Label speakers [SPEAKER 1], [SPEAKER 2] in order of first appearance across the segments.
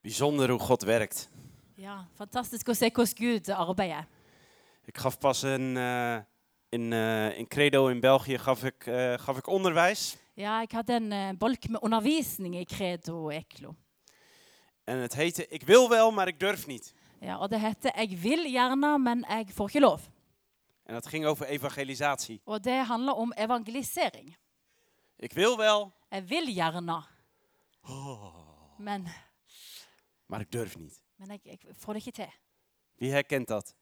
[SPEAKER 1] Bijzonder hoe God werkt.
[SPEAKER 2] Ja, Fantastisk å se hvordan Gud arbeider.
[SPEAKER 1] Ik gaf pas een, eh, in, eh, in Credo in België gaf ik, eh, gaf ik onderwijs.
[SPEAKER 2] Ja, Jeg hadde en eh, bolk med undervisning i Credo og Eklo.
[SPEAKER 1] En het heette Ik wil wel, maar ik durf niet.
[SPEAKER 2] Ja, og Det heter 'Jeg vil gjerne, men jeg får ikke lov'.
[SPEAKER 1] En dat ging over evangelisatie.
[SPEAKER 2] Og Det handler om evangelisering.
[SPEAKER 1] Ik wil wel,
[SPEAKER 2] Jeg vil gjerne, men,
[SPEAKER 1] maar ik durf niet.
[SPEAKER 2] men jeg, jeg får det ikke til.
[SPEAKER 1] Wie herkent dat?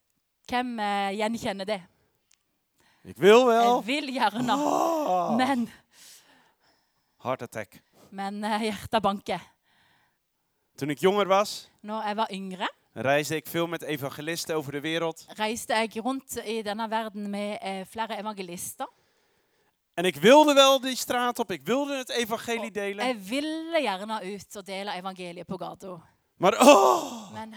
[SPEAKER 2] Hvem eh, gjenkjenner det?
[SPEAKER 1] Ik wil
[SPEAKER 2] Jeg
[SPEAKER 1] wel.
[SPEAKER 2] vil gjerne,
[SPEAKER 1] Oh.
[SPEAKER 2] men,
[SPEAKER 1] Heart attack.
[SPEAKER 2] men eh, hjertet banker.
[SPEAKER 1] Toen ik jonger was,
[SPEAKER 2] Når jeg var yngre,
[SPEAKER 1] reisde ik veel met evangelisten over de wereld.
[SPEAKER 2] reiste jeg rundt i denne verden med eh, flere evangelister.
[SPEAKER 1] En ik wilde wel die straat op, ik wilde het evangelie delen.
[SPEAKER 2] Jeg ville gjerne ut og dele evangeliet på gata,
[SPEAKER 1] Maar oh!
[SPEAKER 2] men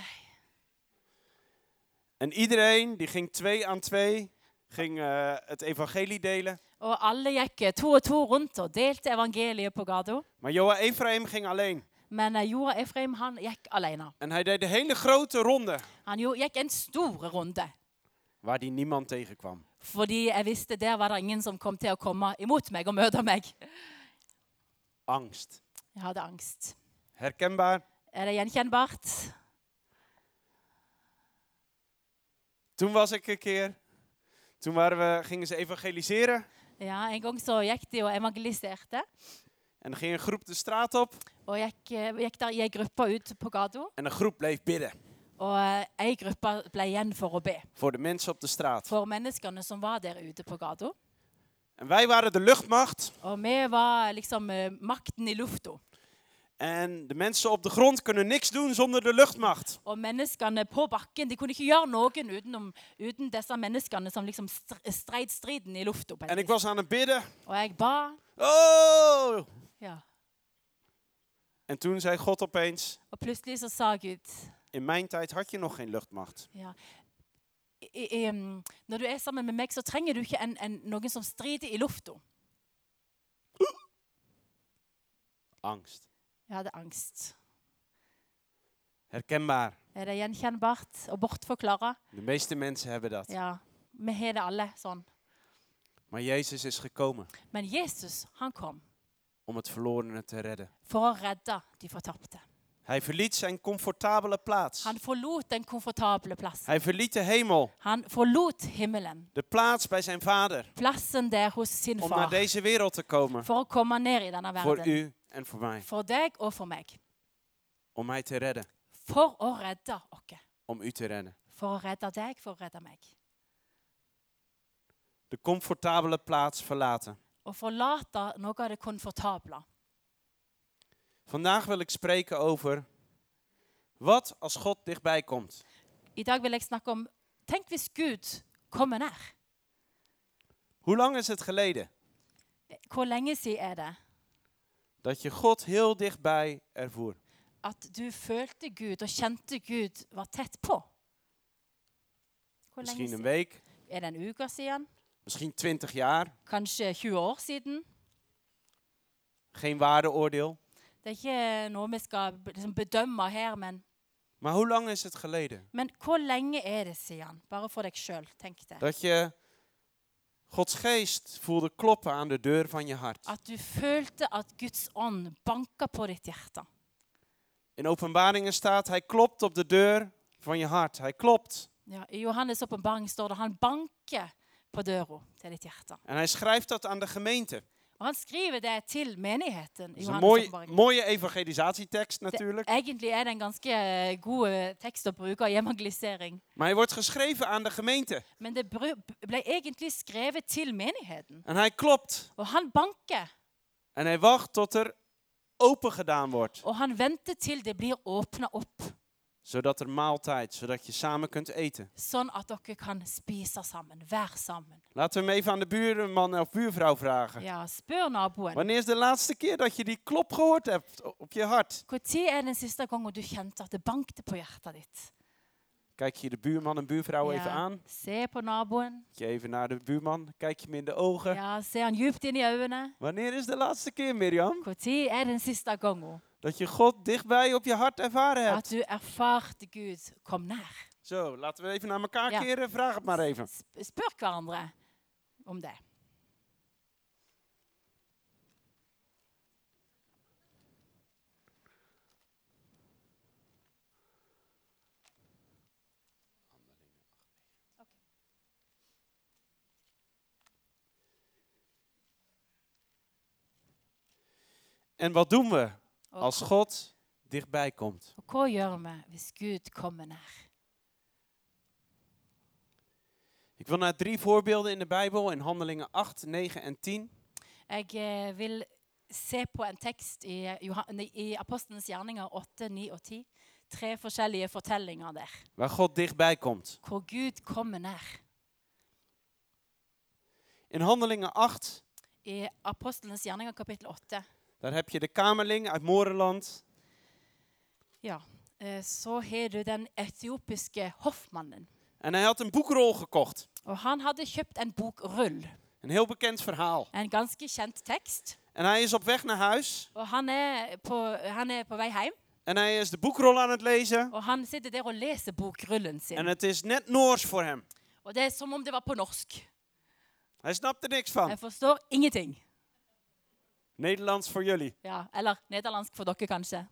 [SPEAKER 1] En iedereen die ging twee aan twee, ging eh, het evangelie delen.
[SPEAKER 2] Og alle gikk eh, to og to rundt og delte evangeliet på gata.
[SPEAKER 1] Maar Joa Efraim ging alleen.
[SPEAKER 2] Men eh, Joa Efraim han gikk alene.
[SPEAKER 1] En hij deed de hele grote ronde,
[SPEAKER 2] Han jo, gikk en stor runde,
[SPEAKER 1] waar die niemand tegenkwam.
[SPEAKER 2] fordi jeg visste der var det ingen som kom til å komme imot meg og møte meg.
[SPEAKER 1] Angst.
[SPEAKER 2] Jeg hadde angst.
[SPEAKER 1] Herkenbaar.
[SPEAKER 2] Er det gjenkjennbart?
[SPEAKER 1] Toen was ik een keer. Toen waren we, gingen ze evangeliseren.
[SPEAKER 2] Ja, En gang så gikk de og evangeliserte.
[SPEAKER 1] En dan ging een groep de straat op.
[SPEAKER 2] Og gikk, eh, gikk der i ei gruppe ut på gata.
[SPEAKER 1] En een groep bleef bidden
[SPEAKER 2] Og eh, ei gruppe ble igjen for å be
[SPEAKER 1] voor de mensen op de straat.
[SPEAKER 2] for menneskene som var der ute på gata.
[SPEAKER 1] En wij waren de luchtmacht.
[SPEAKER 2] Og vi var liksom eh, makten i lufta.
[SPEAKER 1] En de mensen op de grond kunnen niks doen zonder de luchtmacht.
[SPEAKER 2] Og menneskene på bakken de kunne ikke gjøre noen utenom, uten disse menneskene som liksom str- streit striden i lufta. på et
[SPEAKER 1] En ik
[SPEAKER 2] vis.
[SPEAKER 1] was aan het bidden.
[SPEAKER 2] Og jeg ba.
[SPEAKER 1] Oh!
[SPEAKER 2] Ja.
[SPEAKER 1] En toen zei God opeens:
[SPEAKER 2] Og plutselig så sa Gud
[SPEAKER 1] In mijn tijd had je nog geen luchtmacht.
[SPEAKER 2] ja, i, i, um, Når du er sammen med meg, så trenger du ikke en, en, noen som strider i lufta.
[SPEAKER 1] Angst.
[SPEAKER 2] Jeg hadde angst.
[SPEAKER 1] Herkenbaar.
[SPEAKER 2] Er det gjenkjennbart og bortforklara?
[SPEAKER 1] De meeste mensen hebben dat.
[SPEAKER 2] Ja. Vi har det alle sånn.
[SPEAKER 1] Maar Jezus is gekomen
[SPEAKER 2] Men Jesus, han kom
[SPEAKER 1] om het verlorene te redden.
[SPEAKER 2] for å redde de fortapte.
[SPEAKER 1] Hij verliet zijn comfortabele plaats.
[SPEAKER 2] Han forlot den komfortable plassen.
[SPEAKER 1] Hij verliet de hemel,
[SPEAKER 2] Han forlot himmelen.
[SPEAKER 1] de plaats bij zijn vader,
[SPEAKER 2] plassen der hos sin
[SPEAKER 1] om naar
[SPEAKER 2] far
[SPEAKER 1] deze wereld te komen.
[SPEAKER 2] for å komme ned i denne
[SPEAKER 1] Voor
[SPEAKER 2] verden.
[SPEAKER 1] u en voor mij.
[SPEAKER 2] For deg og for meg.
[SPEAKER 1] Om mij te redden.
[SPEAKER 2] For å redde oss.
[SPEAKER 1] Om u te redden.
[SPEAKER 2] For å redde deg, for å redde meg.
[SPEAKER 1] De comfortabele plaats verlaten.
[SPEAKER 2] Å forlate noe av det komfortable.
[SPEAKER 1] Vandaag wil ik spreken over wat als God dichtbij komt.
[SPEAKER 2] I dag vil jeg snakke om Tenk hvis Gud kommer nær.
[SPEAKER 1] Hoe lang is het geleden
[SPEAKER 2] Hvor lenge siden er det
[SPEAKER 1] dat je God heel dichtbij ervoer?
[SPEAKER 2] at du følte Gud og kjente Gud var tett på? Hvor lenge
[SPEAKER 1] Misschien een
[SPEAKER 2] siden?
[SPEAKER 1] week,
[SPEAKER 2] Er det en uke siden?
[SPEAKER 1] misschien 20 jaar.
[SPEAKER 2] Kanskje 20 år siden?
[SPEAKER 1] Geen waardeoordeel.
[SPEAKER 2] Det er ikke noe vi skal be- liksom bedømme her, men
[SPEAKER 1] Maar hoe lang is het geleden
[SPEAKER 2] Men hvor lenge er det siden? Bare for deg sjøl, tenk det.
[SPEAKER 1] dat je Gods geest voelde kloppen aan de deur van je hart?
[SPEAKER 2] At du følte at Guds ånd banka på ditt hjerte.
[SPEAKER 1] In Openbaringen staat, hij klopt op de deur van je hart. Hij klopt.
[SPEAKER 2] Ja, I Johannes' åpenbaring står det han banker på døra til ditt hjerte.
[SPEAKER 1] En hij schrijft dat aan de gemeente.
[SPEAKER 2] Og han skriver det til menigheten.
[SPEAKER 1] Dat
[SPEAKER 2] i
[SPEAKER 1] is een
[SPEAKER 2] Johannes'
[SPEAKER 1] mooi,
[SPEAKER 2] åpenbaring.
[SPEAKER 1] mooie evangelisatietekst
[SPEAKER 2] Det-
[SPEAKER 1] natuurlijk.
[SPEAKER 2] Egentlig er det en ganske eh, god eh, tekst å bruke i evangelisering.
[SPEAKER 1] Maar hij wordt geschreven aan de gemeente.
[SPEAKER 2] Men det bru- ble egentlig skrevet til menigheten.
[SPEAKER 1] En hij klopt.
[SPEAKER 2] Og han banker,
[SPEAKER 1] En hij wacht tot er open gedaan wordt.
[SPEAKER 2] og han venter til det blir åpna opp,
[SPEAKER 1] Zodat er maaltijd, zodat je samen kunt eten.
[SPEAKER 2] sånn at dere kan spise sammen, være sammen.
[SPEAKER 1] Laten we hem even aan de buurman of buurvrouw vragen.
[SPEAKER 2] Ja, spør naboen.
[SPEAKER 1] Wanneer is de laatste keer dat je die klop gehoord hebt o- op je hart?
[SPEAKER 2] Når er den siste gangen du kjente at det bankte på hjertet ditt?
[SPEAKER 1] Kijk je de buurman en buurvrouw even
[SPEAKER 2] Ja.
[SPEAKER 1] aan.
[SPEAKER 2] Se på naboen.
[SPEAKER 1] Kijk je even naar de buurman. Kijk je hem in de ogen.
[SPEAKER 2] Ja, se han djupt inn i øynene.
[SPEAKER 1] Wanneer is de laatste keer, Mirjam,
[SPEAKER 2] Når er den siste gangen
[SPEAKER 1] dat je God dichtbij op je hart ervaren hebt?
[SPEAKER 2] at du erfarte Gud kom nær?
[SPEAKER 1] Zo, laten we even naar elkaar
[SPEAKER 2] Ja.
[SPEAKER 1] keren. Vraag het maar even.
[SPEAKER 2] Sp- Spør hverandre om det.
[SPEAKER 1] En wat doen we
[SPEAKER 2] Og,
[SPEAKER 1] als God dichtbij komt?
[SPEAKER 2] og hva gjør vi hvis Gud kommer nær?
[SPEAKER 1] Ik wil naar drie voorbeelden in de Bijbel, in Handelingen 8, 9 en 10.
[SPEAKER 2] Jeg eh, vil se på en tekst i, eh, Johan- nei, i Apostlenes gjerninger 8, 9 og 10. Tre forskjellige fortellinger der,
[SPEAKER 1] Waar God dichtbij komt.
[SPEAKER 2] hvor Gud kommer nær.
[SPEAKER 1] In Handelingen 8,
[SPEAKER 2] I Apostlenes gjerninger kapittel 8
[SPEAKER 1] daar heb je de kamerling uit Moreland.
[SPEAKER 2] ja, eh, så har du den etiopiske hoffmannen.
[SPEAKER 1] En hij had een boekrol gekocht.
[SPEAKER 2] Og han hadde kjøpt en bokrull,
[SPEAKER 1] Een heel bekend verhaal.
[SPEAKER 2] en ganske kjent tekst.
[SPEAKER 1] En hij is op weg naar huis.
[SPEAKER 2] Og han er på, han er på vei hjem,
[SPEAKER 1] En hij is de boekrol aan het lezen.
[SPEAKER 2] og han sitter der og leser bokrullen
[SPEAKER 1] En
[SPEAKER 2] sin.
[SPEAKER 1] het is net Noors voor hem.
[SPEAKER 2] Og det er som om det var på norsk.
[SPEAKER 1] Hij snapt er niks van.
[SPEAKER 2] Jeg forstår ingenting.
[SPEAKER 1] Nederlands voor jullie.
[SPEAKER 2] Ja, eller nederlandsk for dere, kanskje.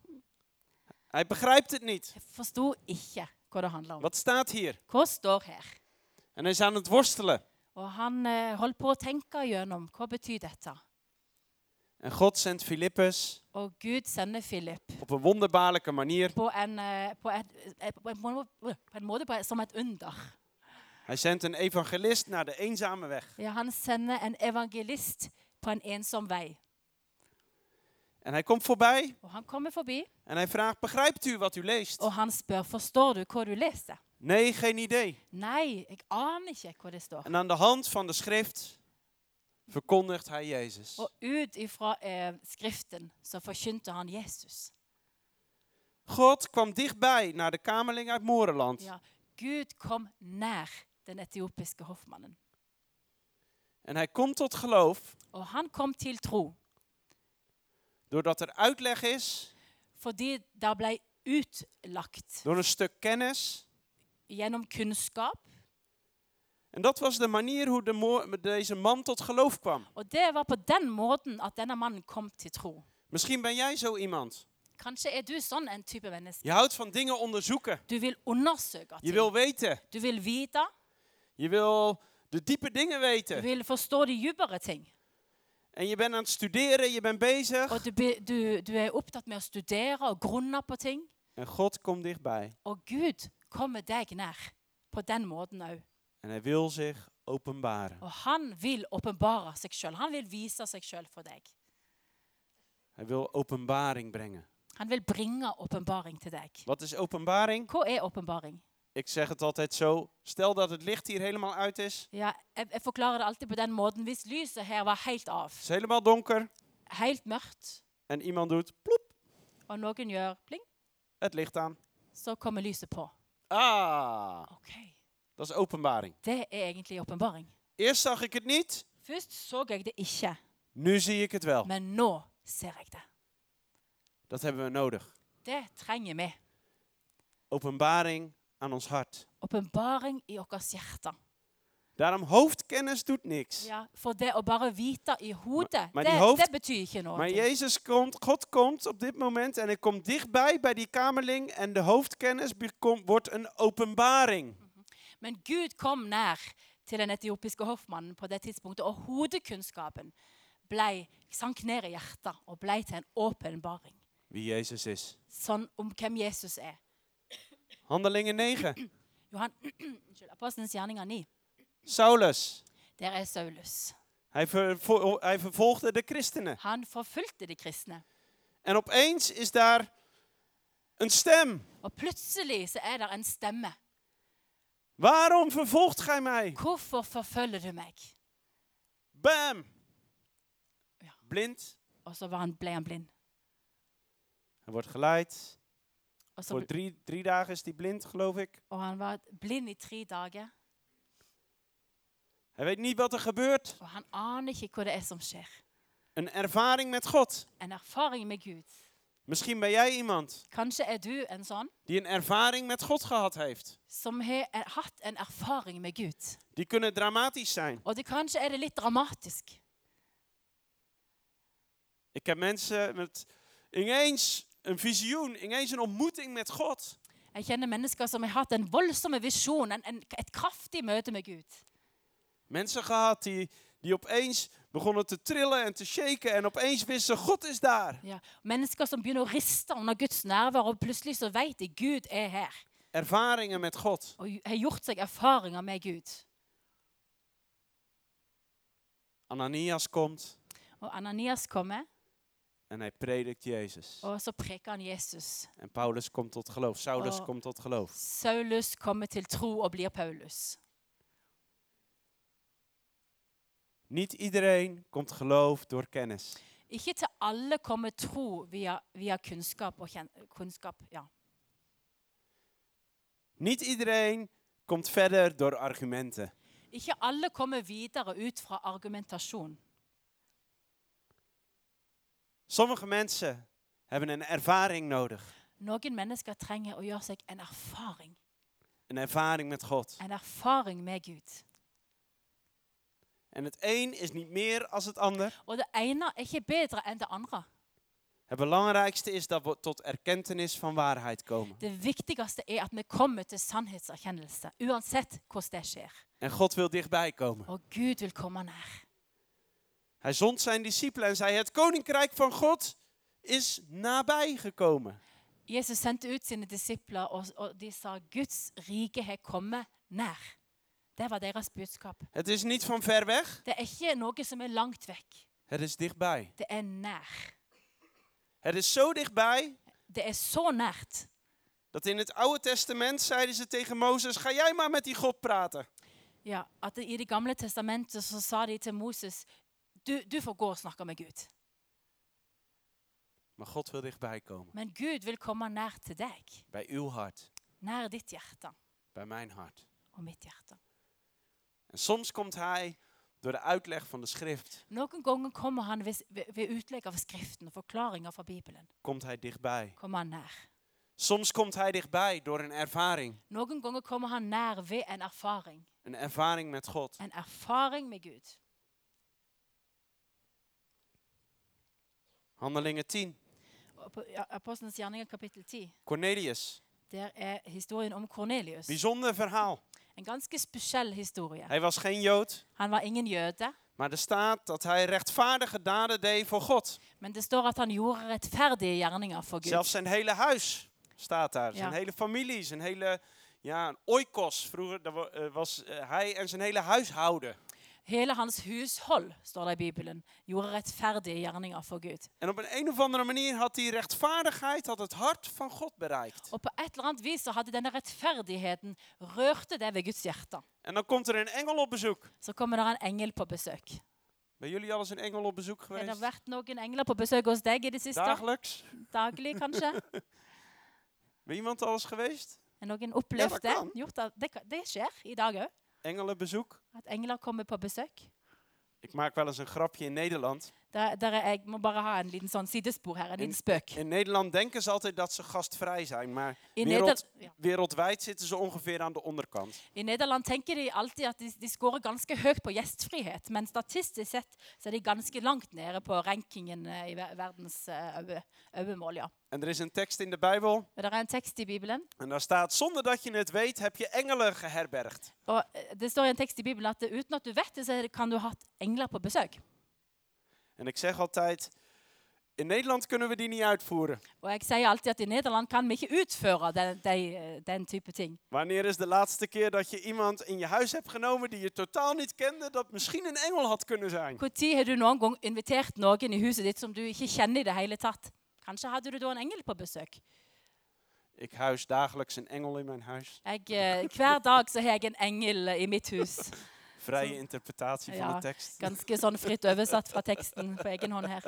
[SPEAKER 1] Hij begrijpt het niet.
[SPEAKER 2] Jeg forsto ikke hva det handla om.
[SPEAKER 1] Wat staat hier?
[SPEAKER 2] Hva står her?
[SPEAKER 1] En hij is aan het worstelen.
[SPEAKER 2] Og han eh, holdt på å tenke gjennom hva betyr dette.
[SPEAKER 1] En God zendt Filippus
[SPEAKER 2] Og Gud sender Philip
[SPEAKER 1] op een wonderbaarlijke manier.
[SPEAKER 2] på en, eh, på et, eh, på en, må- på en måte på, som et under.
[SPEAKER 1] Hij zendt een evangelist naar de eenzame weg.
[SPEAKER 2] Ja, han sender en evangelist på en ensom vei.
[SPEAKER 1] En hij komt voorbij
[SPEAKER 2] Og han kommer forbi,
[SPEAKER 1] en hij vraagt: Begrijpt u wat u leest?
[SPEAKER 2] og han spør forstår du hva du leser.
[SPEAKER 1] Nee, geen idee.
[SPEAKER 2] Nei, jeg aner ikke hva det står.
[SPEAKER 1] En aan de hand van de schrift verkondigt hij Jezus.
[SPEAKER 2] Og ut ifra eh, Skriften så forkynte han Jesus.
[SPEAKER 1] God kwam dichtbij naar de kamerling uit Moreland.
[SPEAKER 2] Ja, Gud kom nær den etiopiske hoffmannen.
[SPEAKER 1] En hij komt tot geloof
[SPEAKER 2] Og han kom til tro,
[SPEAKER 1] doordat er uitleg is,
[SPEAKER 2] fordi det ble utlagt
[SPEAKER 1] door een stuk kennis.
[SPEAKER 2] gjennom kunnskap.
[SPEAKER 1] En dat was de manier hoe de mo- deze man tot geloof kwam.
[SPEAKER 2] Og det var på den måten at denne mannen kom til tro.
[SPEAKER 1] Misschien ben jij zo iemand.
[SPEAKER 2] Kanskje er du sånn en type menneske.
[SPEAKER 1] Je houdt van dingen onderzoeken.
[SPEAKER 2] Du vil undersøke
[SPEAKER 1] Je
[SPEAKER 2] ting.
[SPEAKER 1] wil weten.
[SPEAKER 2] Du vil vite.
[SPEAKER 1] Je wil de diepe dingen
[SPEAKER 2] Du
[SPEAKER 1] weten.
[SPEAKER 2] vil forstå de dypere ting.
[SPEAKER 1] En je bent aan het studeren, je bent bezig.
[SPEAKER 2] Og du, be- du, du er opptatt med å studere og grunne på ting.
[SPEAKER 1] En God komt dichtbij.
[SPEAKER 2] Og Gud kommer deg nær på den måten òg.
[SPEAKER 1] En hij wil zich openbaren.
[SPEAKER 2] Og han vil åpenbare seg sjøl. Han vil vise seg sjøl for deg.
[SPEAKER 1] Hij wil openbaring brengen.
[SPEAKER 2] Han vil bringe åpenbaring til deg.
[SPEAKER 1] Wat is openbaring?
[SPEAKER 2] Hva er åpenbaring?
[SPEAKER 1] Ik zeg het altijd zo. Stel dat het licht hier helemaal uit is.
[SPEAKER 2] Ja, jeg, jeg forklarer det alltid på den måten. Hvis lyset her var helt av,
[SPEAKER 1] Het is helemaal donker.
[SPEAKER 2] helt mørkt,
[SPEAKER 1] En iemand doet plop,
[SPEAKER 2] og noen gjør pling,
[SPEAKER 1] het licht aan.
[SPEAKER 2] så kommer lyset på.
[SPEAKER 1] Ah,
[SPEAKER 2] Ok,
[SPEAKER 1] dat is openbaring.
[SPEAKER 2] Det er egentlig åpenbaring.
[SPEAKER 1] Eerst zag ik het niet.
[SPEAKER 2] Først så jeg det ikke,
[SPEAKER 1] Nu zie ik het wel.
[SPEAKER 2] men nå ser jeg det.
[SPEAKER 1] Dat hebben we nodig.
[SPEAKER 2] Det trenger vi.
[SPEAKER 1] Openbaring aan ons hart.
[SPEAKER 2] Åpenbaring i vårt hjerte.
[SPEAKER 1] Daarom hoofdkennis doet niks.
[SPEAKER 2] Ja, for det å bare vite i hodet,
[SPEAKER 1] Men- men
[SPEAKER 2] det,
[SPEAKER 1] i hoofd-
[SPEAKER 2] det betyr ikke
[SPEAKER 1] Maar
[SPEAKER 2] noe.
[SPEAKER 1] Jezus komt, God komt op dit moment en hij komt dichtbij bij die kamerling en de hoofdkennis bekom- wordt een openbaring.
[SPEAKER 2] Men Gud kom nær til den etiopiske hoffmannen på det tidspunktet, og hodekunnskapen ble, sank ned i hjertet og ble til en åpenbaring.
[SPEAKER 1] Wie Jezus is.
[SPEAKER 2] sånn om hvem Jesus er.
[SPEAKER 1] Handelingen 9.
[SPEAKER 2] Johan, unnskyld, Apostelens gjerninger 9.
[SPEAKER 1] Saulus.
[SPEAKER 2] Der er Saulus.
[SPEAKER 1] Hij, vervo- hij vervolgde de christenen.
[SPEAKER 2] Han forfulgte de kristne.
[SPEAKER 1] En opeens is daar een stem.
[SPEAKER 2] Og plutselig så er det en stemme.
[SPEAKER 1] Waarom vervolgt gij mij?
[SPEAKER 2] Hvorfor forfølger du meg?
[SPEAKER 1] Bam!
[SPEAKER 2] Ja.
[SPEAKER 1] Blind.
[SPEAKER 2] Og så var han, ble han blind.
[SPEAKER 1] Hij wordt geleid
[SPEAKER 2] Og, så,
[SPEAKER 1] Voor drie, drie dagen is hij blind, geloof ik.
[SPEAKER 2] og han var blind i tre dager,
[SPEAKER 1] Hij weet niet wat er gebeurt.
[SPEAKER 2] og han aner ikke hva det er som skjer.
[SPEAKER 1] Een ervaring met God.
[SPEAKER 2] En erfaring med Gud.
[SPEAKER 1] Misschien ben jij iemand
[SPEAKER 2] Kanskje er du en sånn
[SPEAKER 1] die een ervaring met God gehad heeft.
[SPEAKER 2] som har eh, hatt en erfaring med Gud.
[SPEAKER 1] Die kunnen dramatisch zijn.
[SPEAKER 2] Og det kanskje er det litt dramatisk.
[SPEAKER 1] Ik heb mensen met ineens een visioen, ineens een ontmoeting met God.
[SPEAKER 2] Jeg kjenner mennesker som har hatt en voldsom visjon, en, en, et kraftig møte med Gud.
[SPEAKER 1] Mensen gehad die, die opeens begonnen te trillen en te shaken en opeens wisten God is daar.
[SPEAKER 2] Ja. Mennesker som begynner å riste under Guds nærvær, og plutselig så vet de Gud er her.
[SPEAKER 1] Ervaringen met God.
[SPEAKER 2] Og ju- har gjort seg erfaringer med Gud.
[SPEAKER 1] Ananias komt
[SPEAKER 2] Og Ananias kommer,
[SPEAKER 1] en hij predikt Jezus.
[SPEAKER 2] og så preker han Jesus.
[SPEAKER 1] En Paulus komt tot geloof, Saulus
[SPEAKER 2] Oh.
[SPEAKER 1] komt tot geloof.
[SPEAKER 2] Saulus kommer til tro og blir Paulus.
[SPEAKER 1] Niet iedereen komt geloof door kennis.
[SPEAKER 2] Ikke til alle kommer tro via, via kunnskap og kjen, kunnskap. Ja.
[SPEAKER 1] Niet iedereen komt verder door argumenten.
[SPEAKER 2] Ikke alle kommer videre ut fra argumentasjon.
[SPEAKER 1] Sommige mensen hebben een ervaring nodig.
[SPEAKER 2] Noen mennesker trenger å gjøre seg en erfaring.
[SPEAKER 1] Een ervaring met God.
[SPEAKER 2] En erfaring med Gud.
[SPEAKER 1] En het een is niet meer als het ander.
[SPEAKER 2] Og det ene er ikke bedre enn det andre.
[SPEAKER 1] Het belangrijkste is dat we tot erkentenis van waarheid komen.
[SPEAKER 2] Det viktigste er at vi kommer til sannhetserkjennelse, uansett hvordan det skjer.
[SPEAKER 1] En God wil dichtbij komen.
[SPEAKER 2] Og Gud vil komme nær.
[SPEAKER 1] Hij zond zijn discipelen en zei: Het koninkrijk van God is nabij gekomen.
[SPEAKER 2] Jesus sendte ut sine disipler, og, og de sa Guds rike har kommet nær. Det var deres budskap.
[SPEAKER 1] Het is niet van ver weg,
[SPEAKER 2] Det er ikke noe som er langt vekk.
[SPEAKER 1] het is dichtbij.
[SPEAKER 2] Det er nær.
[SPEAKER 1] Het is zo dichtbij
[SPEAKER 2] Det er så nært.
[SPEAKER 1] dat in het Oude Testament zeiden ze tegen Mozes: Ga jij maar met die God praten.
[SPEAKER 2] Ja, at I Det gamle testamentet så sa de til Moses du, du får gå og snakke med Gud.
[SPEAKER 1] Maar God wil dichtbij komen.
[SPEAKER 2] Men Gud vil komme nær til deg.
[SPEAKER 1] Bij uw hart,
[SPEAKER 2] Nær ditt hjerte
[SPEAKER 1] bij mijn hart.
[SPEAKER 2] og mitt hjerte.
[SPEAKER 1] En soms komt hij door de uitleg van de schrift,
[SPEAKER 2] Noen ganger kommer han ved, ved ved utlegg av Skriften og forklaringer fra Bibelen.
[SPEAKER 1] komt hij dichtbij.
[SPEAKER 2] kommer han nær.
[SPEAKER 1] Soms komt hij dichtbij door een ervaring,
[SPEAKER 2] Noen ganger kommer han nær ved en erfaring.
[SPEAKER 1] een ervaring met God.
[SPEAKER 2] En erfaring med Gud.
[SPEAKER 1] Handelingen 10,
[SPEAKER 2] Og på- ja, Apostelens gjerninger kapittel 10.
[SPEAKER 1] Cornelius,
[SPEAKER 2] Der er historien om Kornelius.
[SPEAKER 1] bijzonder verhaal.
[SPEAKER 2] En ganske spesiell historie.
[SPEAKER 1] Hij was geen Jood,
[SPEAKER 2] Han var ingen jøde,
[SPEAKER 1] Maar er staat dat hij rechtvaardige daden deed voor God.
[SPEAKER 2] men det står at han gjorde rettferdige gjerninger for Gud.
[SPEAKER 1] Zelfs zijn hele huis staat daar. Zijn
[SPEAKER 2] Ja.
[SPEAKER 1] hele familie, zijn hele ja, een oikos. Vroeger daar wa- eh, was eh, hij en zijn hele huishouden.
[SPEAKER 2] Hele hans hushold, står det i Bibelen, gjorde rettferdige gjerninger for Gud.
[SPEAKER 1] En op een, een of andere manier had die rechtvaardigheid had het hart van God bereikt.
[SPEAKER 2] Og på et eller annet vis så hadde denne rettferdigheten rørte det ved Guds hjerte.
[SPEAKER 1] En dan komt er een engel op bezoek.
[SPEAKER 2] Så kommer det en engel på besøk.
[SPEAKER 1] Ben jullie al eens een engel op bezoek
[SPEAKER 2] Har det
[SPEAKER 1] geweest?
[SPEAKER 2] vært noen engler på besøk hos deg i det siste?
[SPEAKER 1] Dagelijks?
[SPEAKER 2] Daglig, kanskje?
[SPEAKER 1] Ben iemand al eens geweest?
[SPEAKER 2] Er noen opplevd det?
[SPEAKER 1] Ja, det kan.
[SPEAKER 2] Gjort det? Det, kan- det skjer i dag òg,
[SPEAKER 1] Engelenbezoek?
[SPEAKER 2] at engler kommer på besøk.
[SPEAKER 1] Ik maak wel eens een grapje in Nederland.
[SPEAKER 2] Der, der er, jeg må bare ha en liten sånn sidespor her, en liten spøk.
[SPEAKER 1] In Nederland denken ze altijd dat ze gastvrij zijn, maar
[SPEAKER 2] I,
[SPEAKER 1] wereld-
[SPEAKER 2] Neder ja.
[SPEAKER 1] wereldwijd zitten ze ongeveer aan de onderkant.
[SPEAKER 2] I Nederland tenker de alltid at de, de scorer ganske høyt på gjestfrihet, men statistisk sett så er de ganske langt nede på rankingen eh, i ver- verdens eh, øye- øyemål. Ja.
[SPEAKER 1] En er is een tekst in de Bijbel
[SPEAKER 2] Og Det er en tekst i Bibelen,
[SPEAKER 1] en daar staat: zonder dat je het weet, heb je engelen geherbergd.
[SPEAKER 2] og eh, det står i en tekst i Bibelen at eh, uten at du vet det, så er det- kan du ha hatt engler på besøk.
[SPEAKER 1] En ik zeg altijd: in Nederland kunnen we die niet uitvoeren.
[SPEAKER 2] Og jeg sier alltid at i Nederland kan vi ikke utføre den, de, eh, den type ting.
[SPEAKER 1] Wanneer is de laatste keer dat je iemand in je huis hebt genomen die je totaal niet kende, dat misschien een engel had kunnen zijn?
[SPEAKER 2] Når har du noen gang invitert noen i huset ditt som du ikke kjenner i det hele tatt? Kanskje hadde du da en engel på besøk?
[SPEAKER 1] Ik huis dagelijks een engel in mijn huis.
[SPEAKER 2] Jeg, eh, hver dag så har jeg en engel i mitt hus.
[SPEAKER 1] Vrije
[SPEAKER 2] Zo.
[SPEAKER 1] interpretatie van
[SPEAKER 2] Ja,
[SPEAKER 1] de tekst.
[SPEAKER 2] Ganske sånn fritt oversatt fra teksten på egen hånd her.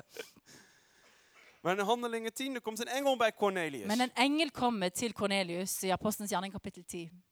[SPEAKER 1] Maar in Handelingen 10, er komt een engel bij Cornelius.
[SPEAKER 2] Men en engel kommer til Kornelius i Apostelens gjerning kapittel 10.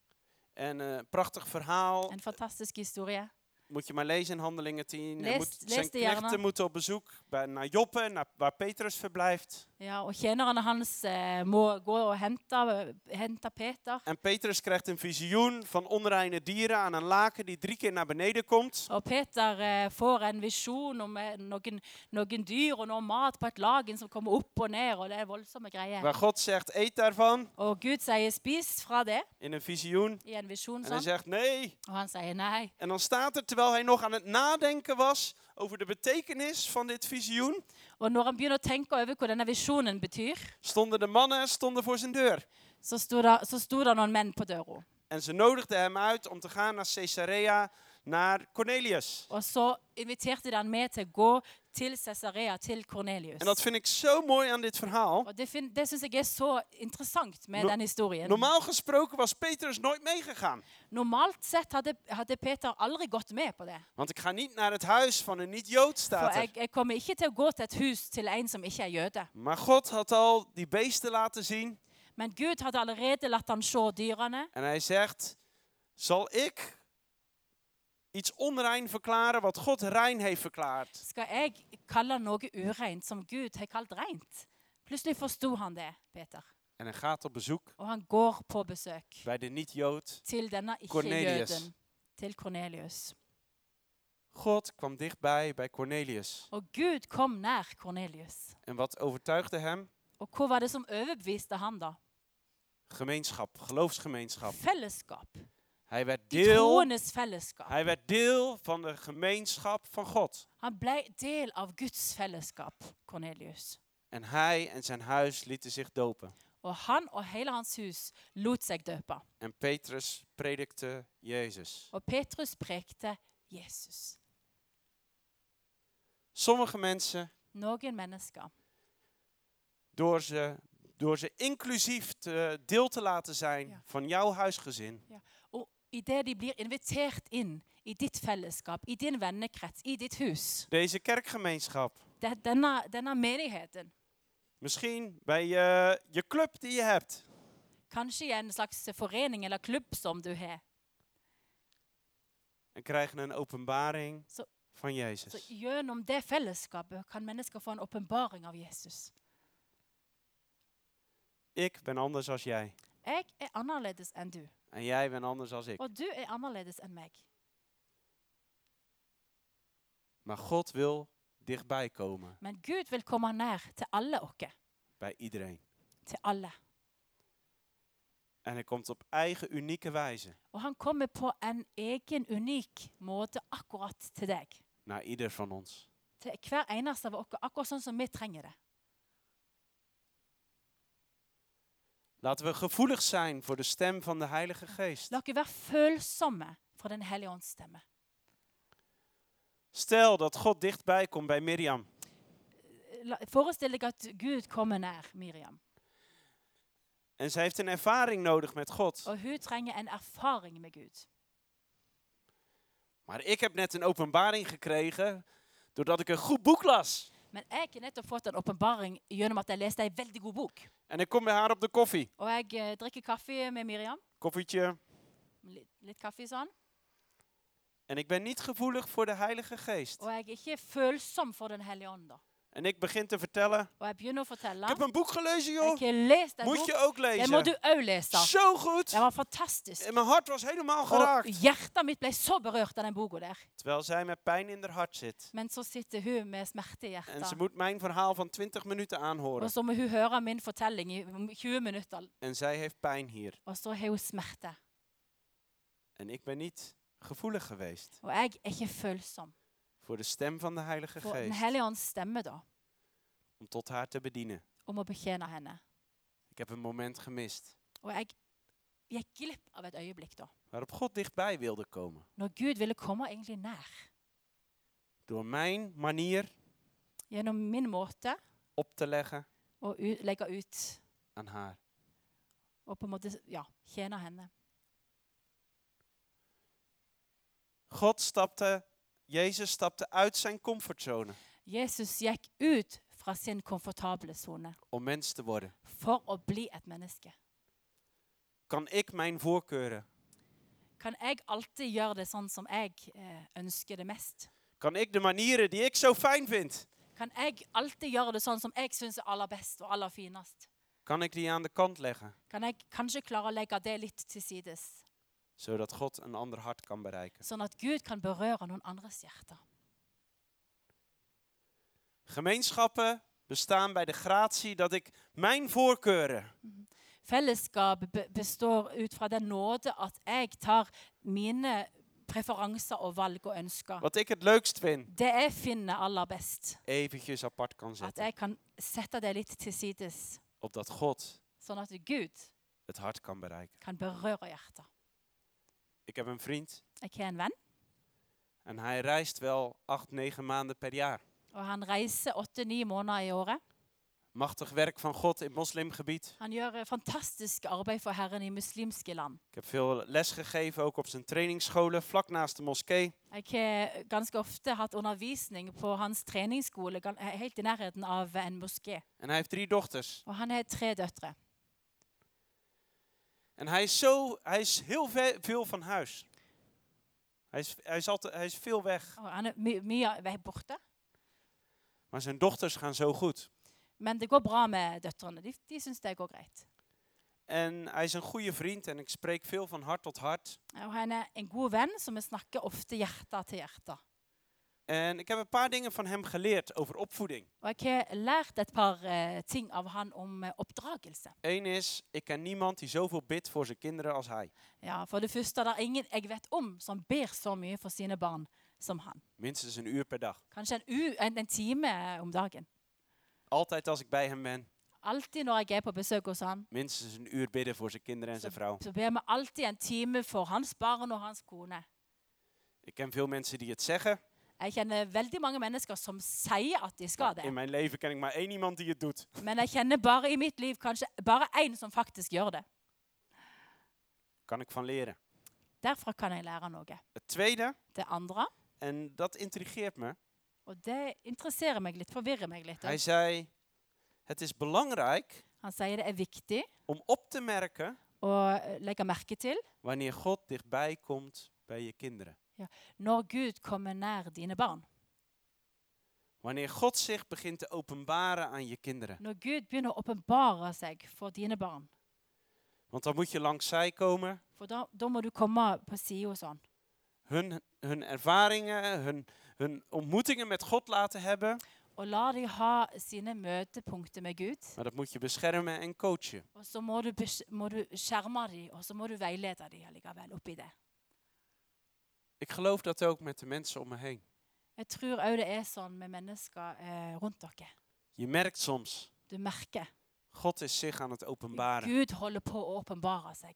[SPEAKER 1] En eh prachtig verhaal.
[SPEAKER 2] En fantastisk historie.
[SPEAKER 1] Moet je maar lezen in Handelingen 10. Hij
[SPEAKER 2] Lees-
[SPEAKER 1] moet,
[SPEAKER 2] lees
[SPEAKER 1] zijn
[SPEAKER 2] de jaren.
[SPEAKER 1] knechten moeten op bezoek bij, naar Joppe, naar, waar Petrus verblijft.
[SPEAKER 2] Ja, og Tjenerne hans eh, må gå og hente, hente Peter.
[SPEAKER 1] En Petrus krijgt een visioen van onreine dieren aan een laken die drie keer naar beneden komt.
[SPEAKER 2] Og Peter eh, får en visjon om eh, noen, noen dyr og noe mat på et lagen som kommer opp og ned, og det er voldsomme greier.
[SPEAKER 1] Waar God zegt, eet daarvan,
[SPEAKER 2] Og Gud sier 'spis fra det'
[SPEAKER 1] in een visioen.
[SPEAKER 2] i en visjon,
[SPEAKER 1] En hij
[SPEAKER 2] sånn.
[SPEAKER 1] zegt, nee.
[SPEAKER 2] og han sier nei.
[SPEAKER 1] En dan staat er, terwijl hij nog aan het nadenken was over de betekenis van dit visioen,
[SPEAKER 2] Og når han begynner å tenke over hva denne visjonen betyr,
[SPEAKER 1] stonden de mannen stonden voor zijn deur.
[SPEAKER 2] så sto det, så sto det noen menn på døra.
[SPEAKER 1] En ze nodigden hem uit om te gaan naar Caesarea, naar Cornelius.
[SPEAKER 2] Og så inviterte de han med til å gå til Cesarea, til Kornelius.
[SPEAKER 1] En dat vind ik zo mooi aan dit verhaal.
[SPEAKER 2] Og det, fin- det syns jeg er så interessant med
[SPEAKER 1] No-
[SPEAKER 2] den historien.
[SPEAKER 1] Normaal gesproken was Petrus nooit meegegaan.
[SPEAKER 2] Normalt sett hadde, hadde Peter aldri gått med på det.
[SPEAKER 1] Want ik ga niet naar het huis van een niet-Jood, staat
[SPEAKER 2] For jeg,
[SPEAKER 1] er.
[SPEAKER 2] jeg kommer ikke til å gå til et hus til en som ikke er jøde.
[SPEAKER 1] Maar God had al die beesten laten zien.
[SPEAKER 2] Men Gud hadde allerede latt han se dyrene.
[SPEAKER 1] En hij zegt, zal ik iets onrein verklaren wat God rein heeft verklaard?
[SPEAKER 2] Skal jeg kalle noe ureint som Gud har kalt reint? Plutselig forsto han det, Peter.
[SPEAKER 1] En hij gaat op bezoek
[SPEAKER 2] Og han går på besøk
[SPEAKER 1] bij de niet-Jood.
[SPEAKER 2] til denne
[SPEAKER 1] Cornelius.
[SPEAKER 2] ikke-jøden, til Kornelius.
[SPEAKER 1] God kwam dichtbij bij Cornelius.
[SPEAKER 2] Og Gud kom nær Kornelius.
[SPEAKER 1] En wat overtuigde hem?
[SPEAKER 2] Og hva var det som overbeviste han da?
[SPEAKER 1] Gemeenschap, geloofsgemeenschap.
[SPEAKER 2] Fellesskap.
[SPEAKER 1] Hij werd
[SPEAKER 2] De
[SPEAKER 1] deel,
[SPEAKER 2] troendes fellesskap.
[SPEAKER 1] hij werd deel van de gemeenschap van God.
[SPEAKER 2] Han ble del av Guds fellesskap, Kornelius.
[SPEAKER 1] En hij en zijn huis lieten zich dopen.
[SPEAKER 2] Og han og hele hans hus lot seg døpe.
[SPEAKER 1] En Petrus predikte Jezus.
[SPEAKER 2] Og Petrus prekte Jesus.
[SPEAKER 1] Sommige mensen,
[SPEAKER 2] Noen mennesker,
[SPEAKER 1] door ze, door ze inclusief te- deel te laten zijn
[SPEAKER 2] Ja.
[SPEAKER 1] van jouw huisgezin,
[SPEAKER 2] og idet de blir invitert inn i ditt fellesskap, i din vennekrets, i ditt hus,
[SPEAKER 1] deze kerkgemeenschap,
[SPEAKER 2] det er denne, denne menigheten,
[SPEAKER 1] misschien bij je, je club die je hebt,
[SPEAKER 2] kanskje i en slags forening eller klubb som du har,
[SPEAKER 1] en krijgen een openbaring
[SPEAKER 2] Zo-
[SPEAKER 1] van
[SPEAKER 2] så
[SPEAKER 1] Jezus.
[SPEAKER 2] gjennom det fellesskapet kan mennesker få en åpenbaring av Jesus.
[SPEAKER 1] Ik ben anders als jij.
[SPEAKER 2] Jeg er annerledes enn du,
[SPEAKER 1] En jij bent anders als ik.
[SPEAKER 2] og du er annerledes enn meg.
[SPEAKER 1] Maar God wil dichtbij komen
[SPEAKER 2] Men Gud vil komme nær til alle oss.
[SPEAKER 1] bij iedereen.
[SPEAKER 2] Til alle.
[SPEAKER 1] En hij komt op eigen unieke wijze
[SPEAKER 2] Og han kommer på en egen, unik måte akkurat til deg.
[SPEAKER 1] naar ieder van ons.
[SPEAKER 2] Til hver eneste av oss, akkurat sånn som vi trenger det.
[SPEAKER 1] Laten we gevoelig zijn voor de stem van de Heilige Geest.
[SPEAKER 2] La dere være følsomme for Den hellige ånds stemme.
[SPEAKER 1] Stel dat God dichtbij komt bij Miriam.
[SPEAKER 2] La, forestill deg at Gud kommer nær Miriam.
[SPEAKER 1] En zij heeft een ervaring nodig met God.
[SPEAKER 2] Og hun trenger en erfaring med Gud.
[SPEAKER 1] Maar ik heb net een openbaring gekregen doordat ik een goed boek las.
[SPEAKER 2] Men jeg har nettopp fått en åpenbaring gjennom at jeg leste ei veldig god bok.
[SPEAKER 1] En ik kom bij haar op de koffie.
[SPEAKER 2] Og jeg eh, drikker kaffe med Miriam.
[SPEAKER 1] Koffietje.
[SPEAKER 2] Litt, litt kaffe sånn.
[SPEAKER 1] En ik ben niet gevoelig voor de Heilige Geest.
[SPEAKER 2] Og jeg er ikke følsom for Den hellige ånd. da.
[SPEAKER 1] En ik begin te vertellen.
[SPEAKER 2] Og jeg begynner å
[SPEAKER 1] Ik
[SPEAKER 2] fortelle.
[SPEAKER 1] heb een boek gelezen,
[SPEAKER 2] Jeg
[SPEAKER 1] joh.
[SPEAKER 2] har lest en
[SPEAKER 1] Moet
[SPEAKER 2] bok.
[SPEAKER 1] je ook
[SPEAKER 2] Det må du
[SPEAKER 1] lezen.
[SPEAKER 2] òg lese.
[SPEAKER 1] Zo goed.
[SPEAKER 2] Det var fantastisk.
[SPEAKER 1] En mijn hart was helemaal
[SPEAKER 2] Og
[SPEAKER 1] geraakt.
[SPEAKER 2] hjertet mitt ble så berørt av den boka der.
[SPEAKER 1] Terwijl zij met pijn in haar hart zit.
[SPEAKER 2] Men så sitter hun med smerte i
[SPEAKER 1] En ze
[SPEAKER 2] hjertet.
[SPEAKER 1] moet mijn verhaal van 20 minuten
[SPEAKER 2] Og
[SPEAKER 1] aanhoren.
[SPEAKER 2] så må hun høre min fortelling i 20 minutter,
[SPEAKER 1] En zij heeft pijn hier.
[SPEAKER 2] og så har hun smerte.
[SPEAKER 1] En ik ben niet gevoelig geweest
[SPEAKER 2] Og jeg er ikke følsom
[SPEAKER 1] voor de stem van de Heilige
[SPEAKER 2] for Den
[SPEAKER 1] Geest.
[SPEAKER 2] hellige ånds stemme da,
[SPEAKER 1] Om tot haar te bedienen.
[SPEAKER 2] om å betjene henne.
[SPEAKER 1] Ik heb een moment gemist.
[SPEAKER 2] Og jeg gikk glipp av et øyeblikk da,
[SPEAKER 1] waarop God dichtbij wilde komen.
[SPEAKER 2] når Gud ville komme egentlig nær.
[SPEAKER 1] Door mijn manier
[SPEAKER 2] Gjennom min måte
[SPEAKER 1] op te leggen
[SPEAKER 2] å u- legge ut
[SPEAKER 1] aan haar.
[SPEAKER 2] og på en måte ja, tjene henne.
[SPEAKER 1] God stapte, Jezus stapte uit zijn comfortzone.
[SPEAKER 2] Jesus gikk ut fra sin komfortable sone
[SPEAKER 1] om mens te worden?
[SPEAKER 2] for å bli et menneske.
[SPEAKER 1] Kan ik mijn voorkeuren?
[SPEAKER 2] Kan jeg alltid gjøre det sånn som jeg eh, ønsker det mest?
[SPEAKER 1] Kan ik de manieren die ik zo fijn vind,
[SPEAKER 2] Kan jeg alltid gjøre det sånn som jeg syns er aller best og aller finest?
[SPEAKER 1] kan ik die aan de kant leggen?
[SPEAKER 2] Kan jeg kanskje klare å legge det litt til sides,
[SPEAKER 1] Zodat God een ander hart kan bereiken.
[SPEAKER 2] sånn at Gud kan berøre noen andres hjerter?
[SPEAKER 1] Gemeenschappen bestaan bij de gratie dat ik mijn voorkeuren
[SPEAKER 2] Fellesskap be- består ut fra den nåde at jeg tar mine preferanser og valg og ønsker.
[SPEAKER 1] wat ik het leukst vind,
[SPEAKER 2] Det jeg finner aller best.
[SPEAKER 1] eventjes apart kan
[SPEAKER 2] At
[SPEAKER 1] zetten.
[SPEAKER 2] jeg kan sette det litt til sides,
[SPEAKER 1] Opdat God
[SPEAKER 2] sånn at Gud
[SPEAKER 1] het hart kan bereiken.
[SPEAKER 2] kan berøre hjertet.
[SPEAKER 1] Ik heb een vriend
[SPEAKER 2] Jeg har en venn,
[SPEAKER 1] en hij reist wel acht, negen maanden per jaar.
[SPEAKER 2] og han reiser åtte-ni måneder i året.
[SPEAKER 1] Machtig werk van God in moslimgebied.
[SPEAKER 2] Han gjør eh, fantastisk arbeid for Herren i muslimske land.
[SPEAKER 1] Ik heb veel les gegeven, ook op zijn trainingsscholen, vlak naast de moskee.
[SPEAKER 2] Jeg har ganske ofte hatt undervisning på hans treningsskole gan- eh, helt i nærheten av eh, en moské.
[SPEAKER 1] En hij heeft drie dochters.
[SPEAKER 2] Og han har tre døtre.
[SPEAKER 1] En hij is, zo, hij is heel ve- veel van huis. Hij is, hij, is altijd, hij is veel weg.
[SPEAKER 2] Og han er my mye vei borte.
[SPEAKER 1] Maar zijn dochters gaan zo goed.
[SPEAKER 2] Men det går bra med døtrene. De, de syns det går greit.
[SPEAKER 1] En hij is een goede vriend en ik spreek veel van hart tot hart.
[SPEAKER 2] Og han er en god venn, så vi snakker ofte hjerte til hjerte.
[SPEAKER 1] En ik heb een paar dingen van hem geleerd over opvoeding.
[SPEAKER 2] Og jeg har lært et par eh, ting av han om eh, oppdragelse.
[SPEAKER 1] Eén is, ik ken niemand die zoveel bidt voor zijn kinderen als hij.
[SPEAKER 2] Ja, For det første det er ingen jeg vet om som ber så mye for sine barn som han.
[SPEAKER 1] Minstens een uur per dag.
[SPEAKER 2] Kanskje en, u, en, en time eh, om dagen.
[SPEAKER 1] Altijd als ik bij hem ben,
[SPEAKER 2] Alltid når jeg er på besøk hos han,
[SPEAKER 1] minstens een uur bidden voor zijn kinderen en zijn vrouw.
[SPEAKER 2] så ber vi alltid en time for hans barn og hans kone.
[SPEAKER 1] Ik ken veel mensen die het zeggen.
[SPEAKER 2] Jeg kjenner veldig mange mennesker som sier at de skal det,
[SPEAKER 1] In mijn leven ken ik maar één iemand die het doet.
[SPEAKER 2] men jeg kjenner bare i mitt liv kanskje bare én som faktisk gjør det.
[SPEAKER 1] Kan ik van leren.
[SPEAKER 2] Derfra kan jeg lære noe.
[SPEAKER 1] Het tweede,
[SPEAKER 2] Det andre,
[SPEAKER 1] en dat intrigeert me.
[SPEAKER 2] og det interesserer meg litt, forvirrer meg litt.
[SPEAKER 1] Hij zei: Het is belangrijk
[SPEAKER 2] Han sier det er viktig
[SPEAKER 1] om op te merken
[SPEAKER 2] å legge merke til
[SPEAKER 1] wanneer God dichtbij komt bij je kinderen.
[SPEAKER 2] når Gud kommer nær dine barn.
[SPEAKER 1] Wanneer God zich begint te openbaren aan je kinderen.
[SPEAKER 2] Når Gud begynner å åpenbare seg for dine barn.
[SPEAKER 1] Want dan moet je langs zij komen,
[SPEAKER 2] For da, da må du komme på sida sånn.
[SPEAKER 1] hun, hun ervaringen, hun, hun ontmoetingen met God laten hebben.
[SPEAKER 2] Og la de ha sine møtepunkter med Gud.
[SPEAKER 1] Maar dat moet je beschermen en coachen.
[SPEAKER 2] Og så må du, bes- må du skjerme dem, og så må du veilede dem allikevel oppi det.
[SPEAKER 1] Ik geloof dat ook met de mensen om me heen.
[SPEAKER 2] Jeg tror òg det er sånn med mennesker eh, rundt dere.
[SPEAKER 1] Je merkt soms,
[SPEAKER 2] Du merker.
[SPEAKER 1] God is zich aan het openbaren.
[SPEAKER 2] Gud holder på å åpenbare seg.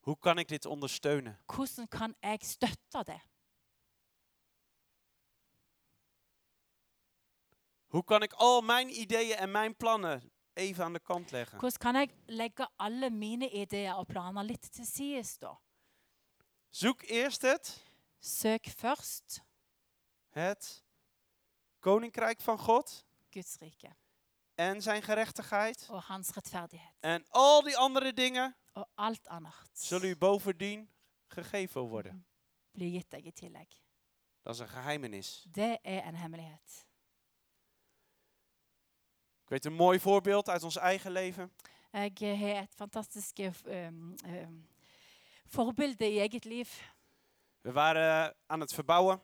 [SPEAKER 1] Hoe kan ik dit ondersteunen?
[SPEAKER 2] Hvordan kan jeg støtte det?
[SPEAKER 1] Hoe kan ik al mijn ideeën en mijn plannen even aan de kant leggen?
[SPEAKER 2] Hvordan kan jeg legge alle mine ideer og planer litt til sides, da?
[SPEAKER 1] Zoek eerst het,
[SPEAKER 2] Søk først
[SPEAKER 1] het koninkrijk van God
[SPEAKER 2] Guds rike
[SPEAKER 1] en zijn gerechtigheid.
[SPEAKER 2] og hans rettferdighet.
[SPEAKER 1] En al die andere dingen
[SPEAKER 2] Og alt annet
[SPEAKER 1] zullen u bovendien gegeven worden.
[SPEAKER 2] blir gitt deg i tillegg.
[SPEAKER 1] Dat is een geheimenis.
[SPEAKER 2] Det er en hemmelighet.
[SPEAKER 1] Ik weet een mooi voorbeeld uit ons eigen leven.
[SPEAKER 2] Jeg eh, har et fantastisk eh, f- um, um, forbilde i eget liv.
[SPEAKER 1] We waren eh, aan het verbouwen.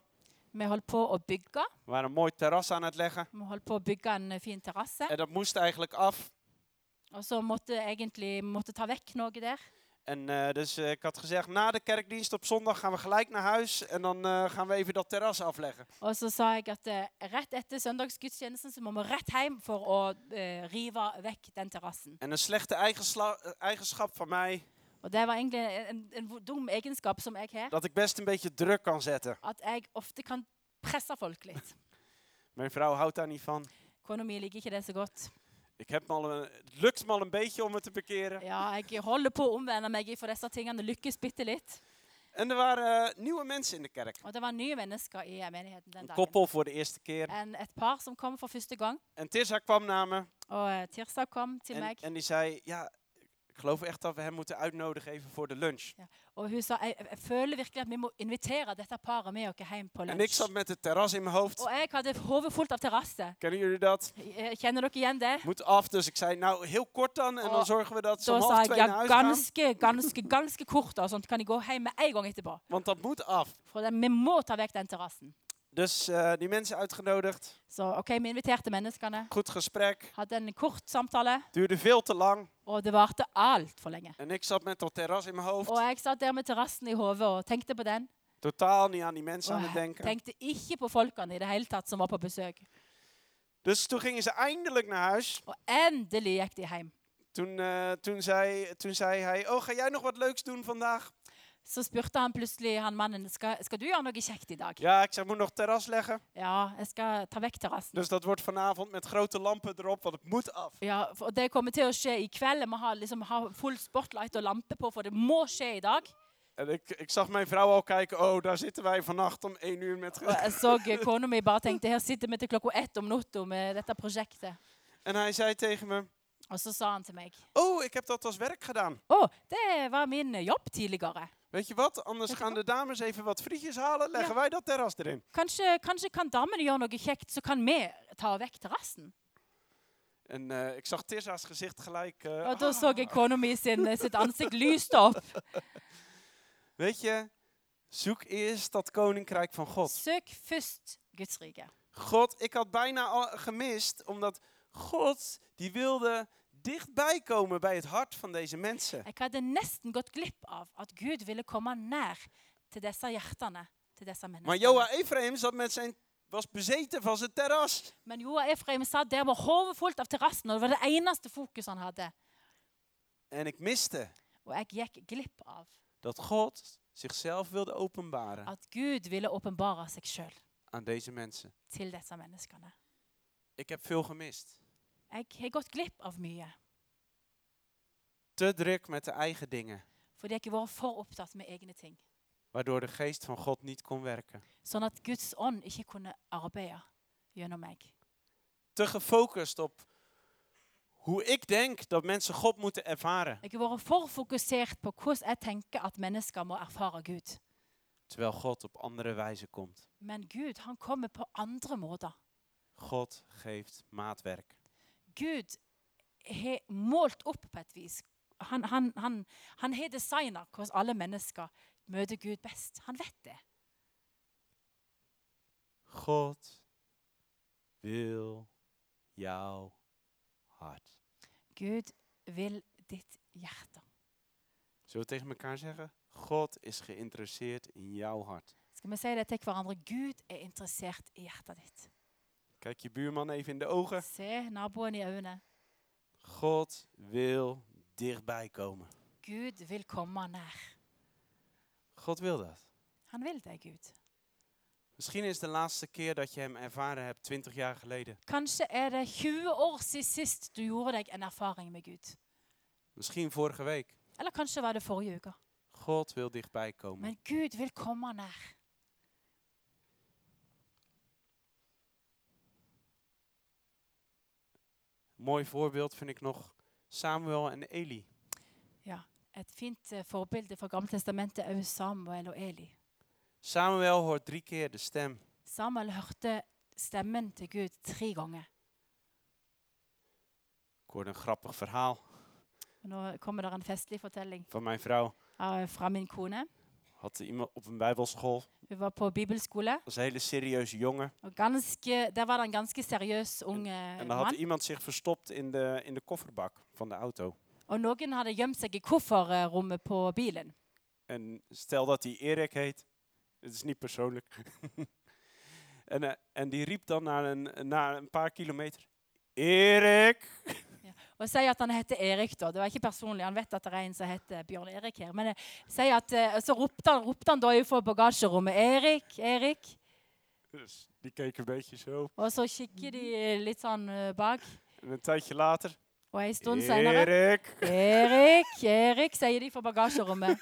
[SPEAKER 2] Vi holdt på å bygge.
[SPEAKER 1] We waren een mooi terras aan het leggen.
[SPEAKER 2] Vi holdt på å bygge en eh, fin terrasse.
[SPEAKER 1] En dat moest eigenlijk af.
[SPEAKER 2] Og så måtte jeg egentlig måtte ta vekk noe der.
[SPEAKER 1] En eh, dus eh, ik had gezegd, na de kerkdienst op zondag gaan we gelijk naar huis. En dan eh, gaan we even dat terras afleggen.
[SPEAKER 2] Og så sa jeg at eh, rett etter søndagsgudstjenesten så må vi rett hjem for å eh, rive vekk den terrassen.
[SPEAKER 1] En een slechte eigensla- eh, eigenschap van mij,
[SPEAKER 2] Og det var egentlig en, en, en vo- dum egenskap som jeg har.
[SPEAKER 1] dat ik best een beetje druk kan zetten.
[SPEAKER 2] At jeg ofte kan presse folk litt.
[SPEAKER 1] Mijn vrouw houdt daar niet van.
[SPEAKER 2] Kona mi liker ikke det så godt.
[SPEAKER 1] Ik heb me al een, het lukt me al een beetje om het te bekeren.
[SPEAKER 2] Ja, jeg holder på å omvende meg for disse tingene. Lykkes bitte litt.
[SPEAKER 1] En er waren eh, nieuwe mensen in de kerk.
[SPEAKER 2] Og det var nye mennesker i eh, menigheten den
[SPEAKER 1] Een
[SPEAKER 2] dagen.
[SPEAKER 1] koppel voor de eerste keer.
[SPEAKER 2] En et par som kom for første gang.
[SPEAKER 1] En Tissa kwam naar me
[SPEAKER 2] Og eh, Tirsa kom til
[SPEAKER 1] en,
[SPEAKER 2] meg,
[SPEAKER 1] en die zei, ja, ik geloof echt dat we hem moeten uitnodigen even voor de lunch.
[SPEAKER 2] og hun sa jeg, jeg føler virkelig at vi må invitere dette paret med oss hjem på
[SPEAKER 1] En ik
[SPEAKER 2] lunsj.
[SPEAKER 1] zat met het terras in mijn hoofd.
[SPEAKER 2] Og jeg hadde hodet fullt av terrasse.
[SPEAKER 1] Kennen jullie dat?
[SPEAKER 2] Eh, Kjenner dere igjen det?
[SPEAKER 1] Moet af, dus ik zei, nou, heel kort dan. En
[SPEAKER 2] Oh,
[SPEAKER 1] dan zorgen we dat ze
[SPEAKER 2] Da
[SPEAKER 1] om
[SPEAKER 2] sa
[SPEAKER 1] half
[SPEAKER 2] jeg
[SPEAKER 1] twee naar
[SPEAKER 2] ja,
[SPEAKER 1] huis gaan.
[SPEAKER 2] ganske, ganske, ganske kort. Og sånt kan de gå hjem med en gang etterpå.
[SPEAKER 1] Want dat moet af.
[SPEAKER 2] For det, vi må ta vekk den terrassen.
[SPEAKER 1] Dus eh, die mensen uitgenodigd.
[SPEAKER 2] Så ok, vi inviterte menneskene.
[SPEAKER 1] Goed gesprek.
[SPEAKER 2] Hadde en kort samtale,
[SPEAKER 1] Duurde veel te lang.
[SPEAKER 2] og det varte altfor lenge.
[SPEAKER 1] En ik zat met dat terras in mijn hoofd.
[SPEAKER 2] Og jeg satt der med terrassen i hodet og tenkte på den.
[SPEAKER 1] Totaal niet aan die mensen aan
[SPEAKER 2] Og
[SPEAKER 1] het denken.
[SPEAKER 2] tenkte ikke på folkene i det hele tatt som var på besøk.
[SPEAKER 1] Dus toen gingen ze eindelijk naar huis.
[SPEAKER 2] Og endelig gikk de hjem.
[SPEAKER 1] Toen, eh, toen, zei, toen zei hij, oh, ga jij nog wat leuks doen vandaag?
[SPEAKER 2] Så spurte han plutselig han mannen skal, skal du gjøre noe kjekt i dag.
[SPEAKER 1] Ja, ik zei, moet nog terras leggen.
[SPEAKER 2] Ja, jeg skal ta vekk terrassen.
[SPEAKER 1] Dus dat wordt vanavond met grote lampen erop, want het moet af.
[SPEAKER 2] Ja, for Det kommer til å skje i kveld. Vi har liksom har full spotlight og lampe på, for det må skje i dag.
[SPEAKER 1] En ik, ik zag mijn vrouw al kijken, oh, daar zitten wij vannacht om één uur met...
[SPEAKER 2] Og jeg så kona mi bare tenkte her sitter vi til klokka ett om natta med dette prosjektet.
[SPEAKER 1] En hij zei tegen me,
[SPEAKER 2] Og så sa han til meg
[SPEAKER 1] oh, ik heb dat als werk gedaan.
[SPEAKER 2] Å, det var min jobb tidligere.
[SPEAKER 1] Weet je wat, anders
[SPEAKER 2] Weet je
[SPEAKER 1] gaan de dames even wat frietjes halen, leggen
[SPEAKER 2] Ja.
[SPEAKER 1] wij dat terras erin.
[SPEAKER 2] Kanskje, kanskje kan damene gjøre noe kjekt, så kan vi ta vekk terrassen.
[SPEAKER 1] En eh, ik zag Tissa's gezicht gelijk. eh,
[SPEAKER 2] Og da
[SPEAKER 1] ah.
[SPEAKER 2] så jeg kona mi sin, eh, sitt ansikt lyste opp.
[SPEAKER 1] Weet je, zoek eerst dat koninkrijk van God.
[SPEAKER 2] Søk først Guds rike.
[SPEAKER 1] God, ik had bijna al gemist, omdat God, die wilde dichtbij komen bij het hart van deze mensen.
[SPEAKER 2] Jeg hadde nesten gått glipp av at Gud ville komme nær til disse hjertene. til disse
[SPEAKER 1] Maar
[SPEAKER 2] menneskene.
[SPEAKER 1] Joa Ephraim zat met zijn, was bezeten van zijn terras.
[SPEAKER 2] Men Joa Efraim satt der med hodet fullt av terrassen, og det var det eneste fokuset han hadde.
[SPEAKER 1] En ik miste
[SPEAKER 2] Og jeg gikk glipp av
[SPEAKER 1] dat God zichzelf wilde openbaren
[SPEAKER 2] at Gud ville åpenbare seg sjøl
[SPEAKER 1] aan deze mensen.
[SPEAKER 2] til disse menneskene.
[SPEAKER 1] Ik heb veel gemist.
[SPEAKER 2] Jeg har gått glipp av mye
[SPEAKER 1] Te druk met de eigen dingen,
[SPEAKER 2] fordi jeg har vært for opptatt med egne ting.
[SPEAKER 1] waardoor de geest van God niet kon werken.
[SPEAKER 2] Sånn at Guds ånd ikke kunne arbeide gjennom meg.
[SPEAKER 1] Te gefocust op hoe ik denk dat mensen God moeten ervaren,
[SPEAKER 2] Jeg har vært for fokusert på hvordan jeg tenker at mennesker må erfare Gud.
[SPEAKER 1] terwijl God op andere wijze komt.
[SPEAKER 2] Men Gud han kommer på andre måter.
[SPEAKER 1] God geeft maatwerk.
[SPEAKER 2] Gud har målt opp på et vis. Han, han, han, han har designa hvordan alle mennesker møter Gud best. Han vet det.
[SPEAKER 1] God wil jouw hart.
[SPEAKER 2] Gud vil ditt hjerte.
[SPEAKER 1] Zullen we tegen elkaar zeggen? God is geïnteresseerd in jouw hart.
[SPEAKER 2] Skal vi si det til hverandre? Gud er interessert i hjertet ditt.
[SPEAKER 1] Kijk je buurman even in de ogen.
[SPEAKER 2] Se naboen i øynene.
[SPEAKER 1] God wil dichtbij komen.
[SPEAKER 2] Gud vil komme nær.
[SPEAKER 1] God wil dat.
[SPEAKER 2] Han vil det, Gud.
[SPEAKER 1] Misschien is de laatste keer dat je hem ervaren hebt 20 jaar geleden.
[SPEAKER 2] Kanskje er det 20 år siden sist du gjorde deg en erfaring med Gud.
[SPEAKER 1] Misschien vorige week.
[SPEAKER 2] Eller kanskje var det forrige uke.
[SPEAKER 1] God wil dichtbij komen.
[SPEAKER 2] Men Gud vil komme nær.
[SPEAKER 1] Een mooi voorbeeld vind ik nog Samuel en Eli.
[SPEAKER 2] Et fint eh, forbilde fra Gammeltestamentet er jo Samuel og Eli.
[SPEAKER 1] Samuel hoort drie keer de stem.
[SPEAKER 2] Samuel hørte stemmen til Gud tre ganger.
[SPEAKER 1] Ik hoorde een grappig verhaal
[SPEAKER 2] Og nå kommer det en festlig fortelling
[SPEAKER 1] van mijn vrouw.
[SPEAKER 2] eh, fra min kone.
[SPEAKER 1] Had iemand op een bijbelschool.
[SPEAKER 2] Hun var på bibelskole,
[SPEAKER 1] was een hele serieuze jongen.
[SPEAKER 2] og ganske, der var det en ganske seriøs ung eh,
[SPEAKER 1] En dan had
[SPEAKER 2] mann.
[SPEAKER 1] iemand zich verstopt in de, in de kofferbak van de auto.
[SPEAKER 2] Og noen hadde gjemt seg i kofferrommet på bilen.
[SPEAKER 1] En stel dat hij Erik heet. Het is niet persoonlijk. en, eh, en die riep dan na een, na een paar kilometer. Erik!
[SPEAKER 2] Og si at han heter Erik, da. Det var ikke personlig. Han vet at det er en som heter Bjørn Erik her. Men eh, si at, eh, så ropte han, ropte han da fra bagasjerommet 'Erik, Erik'.
[SPEAKER 1] Dus die keek een beetje zo.
[SPEAKER 2] Og så kikker de eh, litt sånn eh, bak.
[SPEAKER 1] En een tijdje later.
[SPEAKER 2] Og ei stund senere
[SPEAKER 1] Erik!
[SPEAKER 2] 'Erik, Erik', sier de fra bagasjerommet.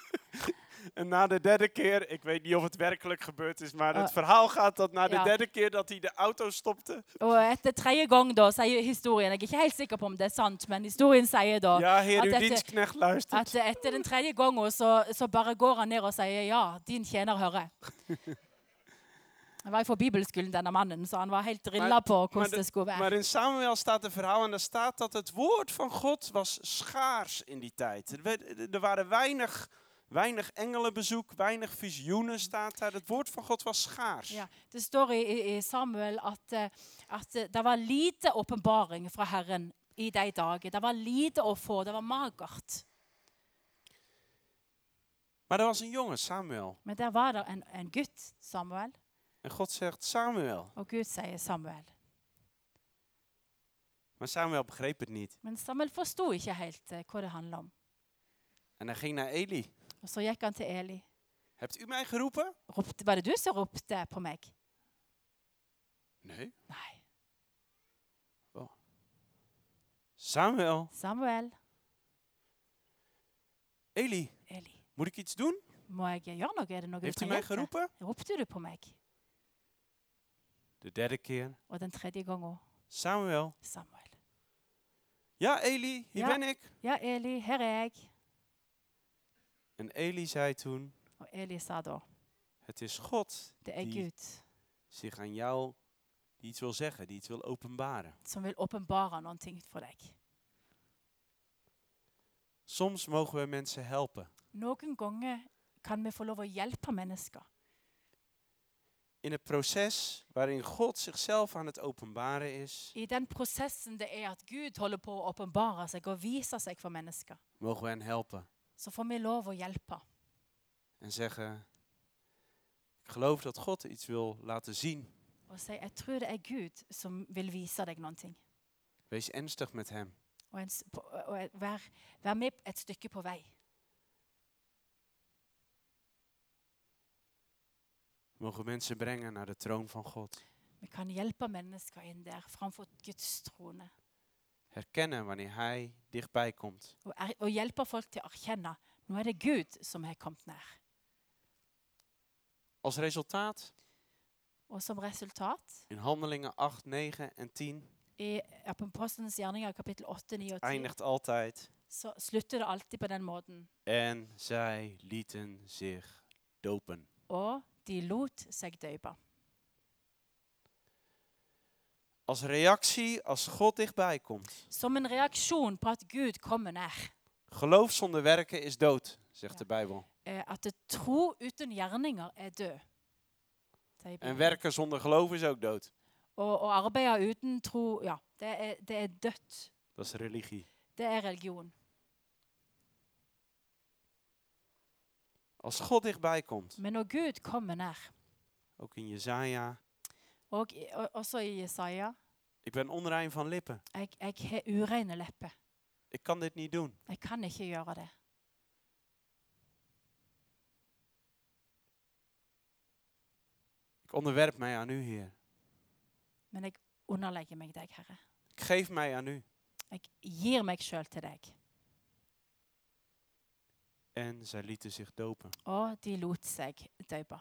[SPEAKER 1] En na de derde keer, ik weet niet of het werkelijk gebeurd is, maar het
[SPEAKER 2] Eh,
[SPEAKER 1] verhaal gaat dat na de
[SPEAKER 2] ja.
[SPEAKER 1] derde keer dat hij de auto stopte.
[SPEAKER 2] Og etter tredje gang da, sier historien Jeg er ikke helt sikker på om det er sant, men historien sier da
[SPEAKER 1] Ja, heer, uw
[SPEAKER 2] dat is-
[SPEAKER 1] dienstknecht luistert.
[SPEAKER 2] at etter den tredje gangen så, så bare går han ned og sier ja, din tjener hører. Han var jo fra bibelskolen, denne mannen, så han var helt drilla
[SPEAKER 1] Maar-
[SPEAKER 2] på hvordan
[SPEAKER 1] maar
[SPEAKER 2] det,
[SPEAKER 1] de-
[SPEAKER 2] skulle være.
[SPEAKER 1] Maar in Samuel staat een verhaal en daar staat dat het woord van God was schaars in die tijd. Er, werd- er waren weinig, weinig engelenbezoek, weinig visioenen staat daar. Het woord van God was schaars.
[SPEAKER 2] Ja, det står i, i- i Samuel at, eh, at eh, det var lite åpenbaring fra Herren i de dager. Det var lite å få, det var magert.
[SPEAKER 1] Maar er was een jongen, Samuel.
[SPEAKER 2] Men der var det en, en gutt, Samuel,
[SPEAKER 1] En God zegt Samuel.
[SPEAKER 2] og Gud sier Samuel.
[SPEAKER 1] Maar Samuel begreep het niet.
[SPEAKER 2] Men Samuel forsto ikke helt eh, hva det handla om.
[SPEAKER 1] En hij ging naar Eli.
[SPEAKER 2] Og så gikk han til Eli.
[SPEAKER 1] Hebt u mij geroepen?
[SPEAKER 2] Ropte, var det du som ropte på meg?
[SPEAKER 1] Nee.
[SPEAKER 2] Nei.
[SPEAKER 1] Samuel.
[SPEAKER 2] Samuel,
[SPEAKER 1] Eli,
[SPEAKER 2] Eli,
[SPEAKER 1] moet ik iets doen?
[SPEAKER 2] må jeg gjøre noe? Er det noe du
[SPEAKER 1] Heeft u
[SPEAKER 2] trenger?
[SPEAKER 1] mij geroepen?
[SPEAKER 2] Ropte du på meg?
[SPEAKER 1] De derde keer.
[SPEAKER 2] Og den tredje gangen
[SPEAKER 1] Samuel.
[SPEAKER 2] Samuel.
[SPEAKER 1] Ja, Eli, hier
[SPEAKER 2] Ja.
[SPEAKER 1] ben ik.
[SPEAKER 2] Ja, Eli, her er jeg.
[SPEAKER 1] En Eli zei toen:
[SPEAKER 2] Og Eli sa da,
[SPEAKER 1] Het is God
[SPEAKER 2] det er
[SPEAKER 1] Die-
[SPEAKER 2] Gud
[SPEAKER 1] zich aan jou die iets wil zeggen, die iets wil openbaren.
[SPEAKER 2] som vil åpenbare noen ting for deg.
[SPEAKER 1] Soms mogen we mensen helpen.
[SPEAKER 2] Noen ganger kan vi få lov å hjelpe mennesker
[SPEAKER 1] In het proces waarin God zichzelf aan het openbaren is,
[SPEAKER 2] i den prosessen det er at Gud holder på å åpenbare seg og vise seg for mennesker.
[SPEAKER 1] mogen we hen helpen.
[SPEAKER 2] Så får vi lov å hjelpe.
[SPEAKER 1] En zeggen, ik geloof dat God iets wil laten zien.
[SPEAKER 2] Og si jeg tror det er Gud som vil vise deg noen ting.
[SPEAKER 1] Wees ernstig met hem.
[SPEAKER 2] Og, en, s- på- og og vær, vær med et stykke på vei.
[SPEAKER 1] Mogen mensen brengen naar de troon van God.
[SPEAKER 2] Vi kan hjelpe mennesker inn der framfor Guds trone.
[SPEAKER 1] Herkennen wanneer hij dichtbij komt.
[SPEAKER 2] Og, er, og hjelpe folk til å erkjenne nå er det Gud som har kommet nær.
[SPEAKER 1] Als resultaat,
[SPEAKER 2] Og som resultat
[SPEAKER 1] in handelingen 8, 9 en 10,
[SPEAKER 2] i Apostelens gjerninger kapittel 8, 9 og 10
[SPEAKER 1] eindigt altijd.
[SPEAKER 2] så slutter det alltid på den måten.
[SPEAKER 1] En zij lieten zich dopen.
[SPEAKER 2] Og de lot seg døype.
[SPEAKER 1] Als reactie als God dichtbij komt.
[SPEAKER 2] Som en reaksjon på at Gud kommer nær.
[SPEAKER 1] Geloof zonder werken is dood, zegt
[SPEAKER 2] Ja.
[SPEAKER 1] de Bijbel.
[SPEAKER 2] Eh, at tro uten gjerninger er død.
[SPEAKER 1] En
[SPEAKER 2] sier Bibelen.
[SPEAKER 1] werken zonder geloof is ook dood.
[SPEAKER 2] Og, og arbeide uten tro, ja, det er, det er dødt.
[SPEAKER 1] Dat is religie.
[SPEAKER 2] Det er religion.
[SPEAKER 1] Als God dichtbij komt,
[SPEAKER 2] Men når Gud kommer nær
[SPEAKER 1] ook in Jezaja.
[SPEAKER 2] Og i- og- også i Jesaja.
[SPEAKER 1] Ik ben onrein van lippen.
[SPEAKER 2] Jeg, jeg har ureine lepper.
[SPEAKER 1] Ik kan dit niet doen.
[SPEAKER 2] Jeg kan ikke gjøre det.
[SPEAKER 1] Ik onderwerp mij aan u, Heer.
[SPEAKER 2] Men jeg underlegger meg deg, Herre.
[SPEAKER 1] Ik geef mij aan u.
[SPEAKER 2] Jeg gir meg sjøl til deg.
[SPEAKER 1] En zij lieten zich dopen.
[SPEAKER 2] Og de lot seg døype.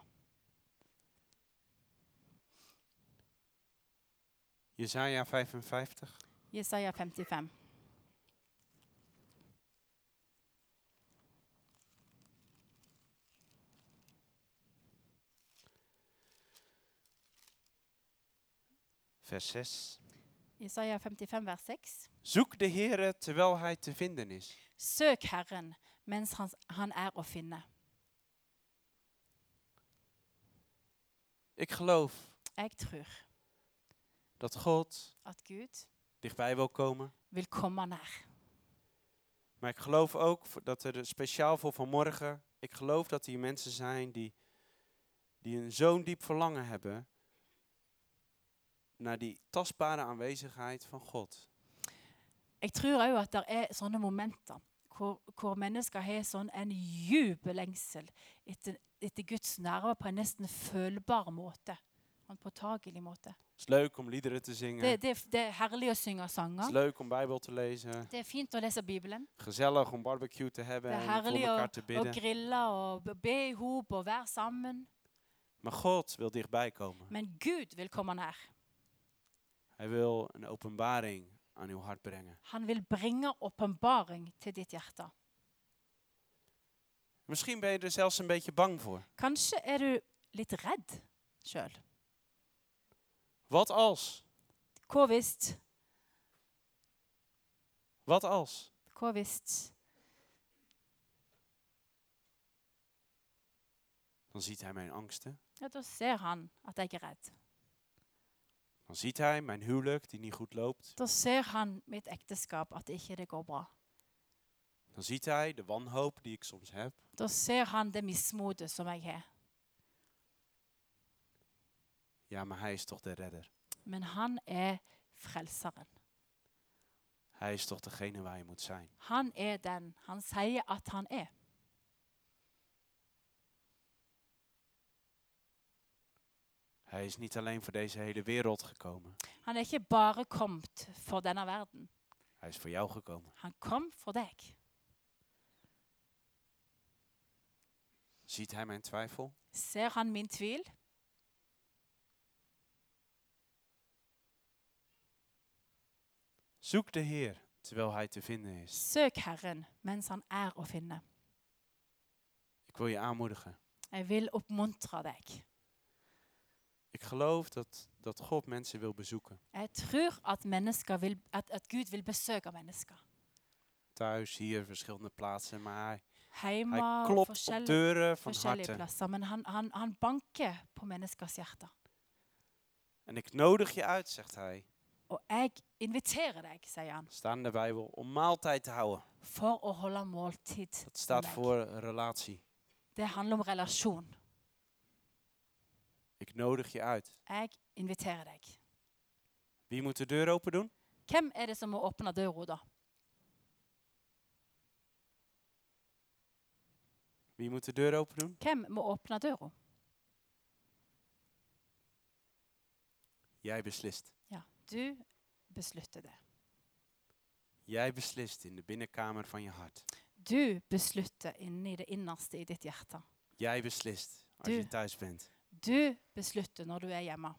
[SPEAKER 1] Jezaja 55.
[SPEAKER 2] Jesaja 55.
[SPEAKER 1] Vers 6.
[SPEAKER 2] Jesaja 55, vers 6.
[SPEAKER 1] Zoek de Heere terwijl hij te vinden is.
[SPEAKER 2] Søk Herren mens han, han er å finne.
[SPEAKER 1] Ik geloof
[SPEAKER 2] Jeg tror
[SPEAKER 1] dat God
[SPEAKER 2] at Gud
[SPEAKER 1] dichtbij wil komen.
[SPEAKER 2] vil komme nær.
[SPEAKER 1] Maar ik geloof ook v- dat er speciaal voor vanmorgen. Ik geloof dat hier mensen zijn die, die een zo'n diep verlangen hebben. Naar die tastbare aanwezigheid van God.
[SPEAKER 2] Jeg tror òg at det er sånne momenter hvor, hvor mennesker har sånn en djup lengsel etter, etter Guds nerver på en nesten følbar måte. på en påtagelig måte.
[SPEAKER 1] Het is leuk om liederen te zingen.
[SPEAKER 2] Det, det, det er herlig å synge
[SPEAKER 1] Het is
[SPEAKER 2] sanger.
[SPEAKER 1] leuk om Bijbel te lezen.
[SPEAKER 2] Det er fint å lese Bibelen.
[SPEAKER 1] Gezellig om barbecue te hebben
[SPEAKER 2] Det er
[SPEAKER 1] en voor
[SPEAKER 2] herlig
[SPEAKER 1] elkaar te
[SPEAKER 2] å
[SPEAKER 1] bidden.
[SPEAKER 2] grille og be i hop og være sammen.
[SPEAKER 1] Maar God wil dichtbij komen.
[SPEAKER 2] Men Gud vil komme nær.
[SPEAKER 1] Hij wil een openbaring aan uw hart brengen.
[SPEAKER 2] Han vil bringe åpenbaring til ditt hjerte.
[SPEAKER 1] Misschien ben je er zelfs een beetje bang voor.
[SPEAKER 2] Kanskje er du litt redd sjøl.
[SPEAKER 1] Wat als?
[SPEAKER 2] Hva hvis
[SPEAKER 1] Wat als?
[SPEAKER 2] Hva hvis
[SPEAKER 1] Dan ziet hij mijn angsten.
[SPEAKER 2] Ja, da ser han at jeg er redd.
[SPEAKER 1] Dan ziet hij mijn huwelijk die niet goed loopt.
[SPEAKER 2] Da ser han mitt ekteskap, at ikke det går bra.
[SPEAKER 1] Dan ziet hij de wanhoop die ik soms heb.
[SPEAKER 2] Da ser han det mismodet som jeg har.
[SPEAKER 1] Ja, maar hij is toch de redder.
[SPEAKER 2] Men han er frelseren.
[SPEAKER 1] Hij is toch degene waar je moet zijn.
[SPEAKER 2] Han er den han sier at han er.
[SPEAKER 1] Hij is niet alleen voor deze hele wereld gekomen.
[SPEAKER 2] Han er ikke bare kommet for denne verden.
[SPEAKER 1] Hij is voor jou gekomen.
[SPEAKER 2] Han kom for deg.
[SPEAKER 1] Ziet hij mijn twijfel?
[SPEAKER 2] Ser han min tvil?
[SPEAKER 1] Zoek de Heer terwijl Hij te vinden is.
[SPEAKER 2] Søk Herren mens han er å finne.
[SPEAKER 1] Ik wil je aanmoedigen.
[SPEAKER 2] Jeg vil oppmuntre deg.
[SPEAKER 1] Ik geloof dat, dat God mensen wil bezoeken.
[SPEAKER 2] Jeg tror at, mennesker vil, at, at Gud vil besøke mennesker.
[SPEAKER 1] Thuis, hier, verschillende plaatsen. Maar Hij,
[SPEAKER 2] Hjemme
[SPEAKER 1] hij
[SPEAKER 2] og
[SPEAKER 1] klopt op
[SPEAKER 2] forskjellige,
[SPEAKER 1] deuren van
[SPEAKER 2] forskjellige
[SPEAKER 1] harte.
[SPEAKER 2] plasser. Men han, han, han banker på menneskers hjerter.
[SPEAKER 1] En ik nodig je uit, zegt Hij.
[SPEAKER 2] Og jeg inviterer deg, sier han,
[SPEAKER 1] Staan in de Bijbel om maaltijd te houden.
[SPEAKER 2] for å holde måltid.
[SPEAKER 1] Dat staat
[SPEAKER 2] med deg.
[SPEAKER 1] voor relatie.
[SPEAKER 2] Det handler om relasjon.
[SPEAKER 1] Ik nodig je uit.
[SPEAKER 2] Jeg inviterer deg.
[SPEAKER 1] Wie moet de deur open doen?
[SPEAKER 2] Hvem er det som må åpne døra, da?
[SPEAKER 1] Wie moet de deur open doen?
[SPEAKER 2] Hvem må åpne døra?
[SPEAKER 1] Jij beslist.
[SPEAKER 2] Ja, du beslutter det.
[SPEAKER 1] Jij beslist in de binnenkamer van je hart.
[SPEAKER 2] Du beslutter inni det innerste i ditt hjerte.
[SPEAKER 1] Jij beslist als
[SPEAKER 2] Deur.
[SPEAKER 1] je thuis bent.
[SPEAKER 2] Du beslutter når du er hjemme.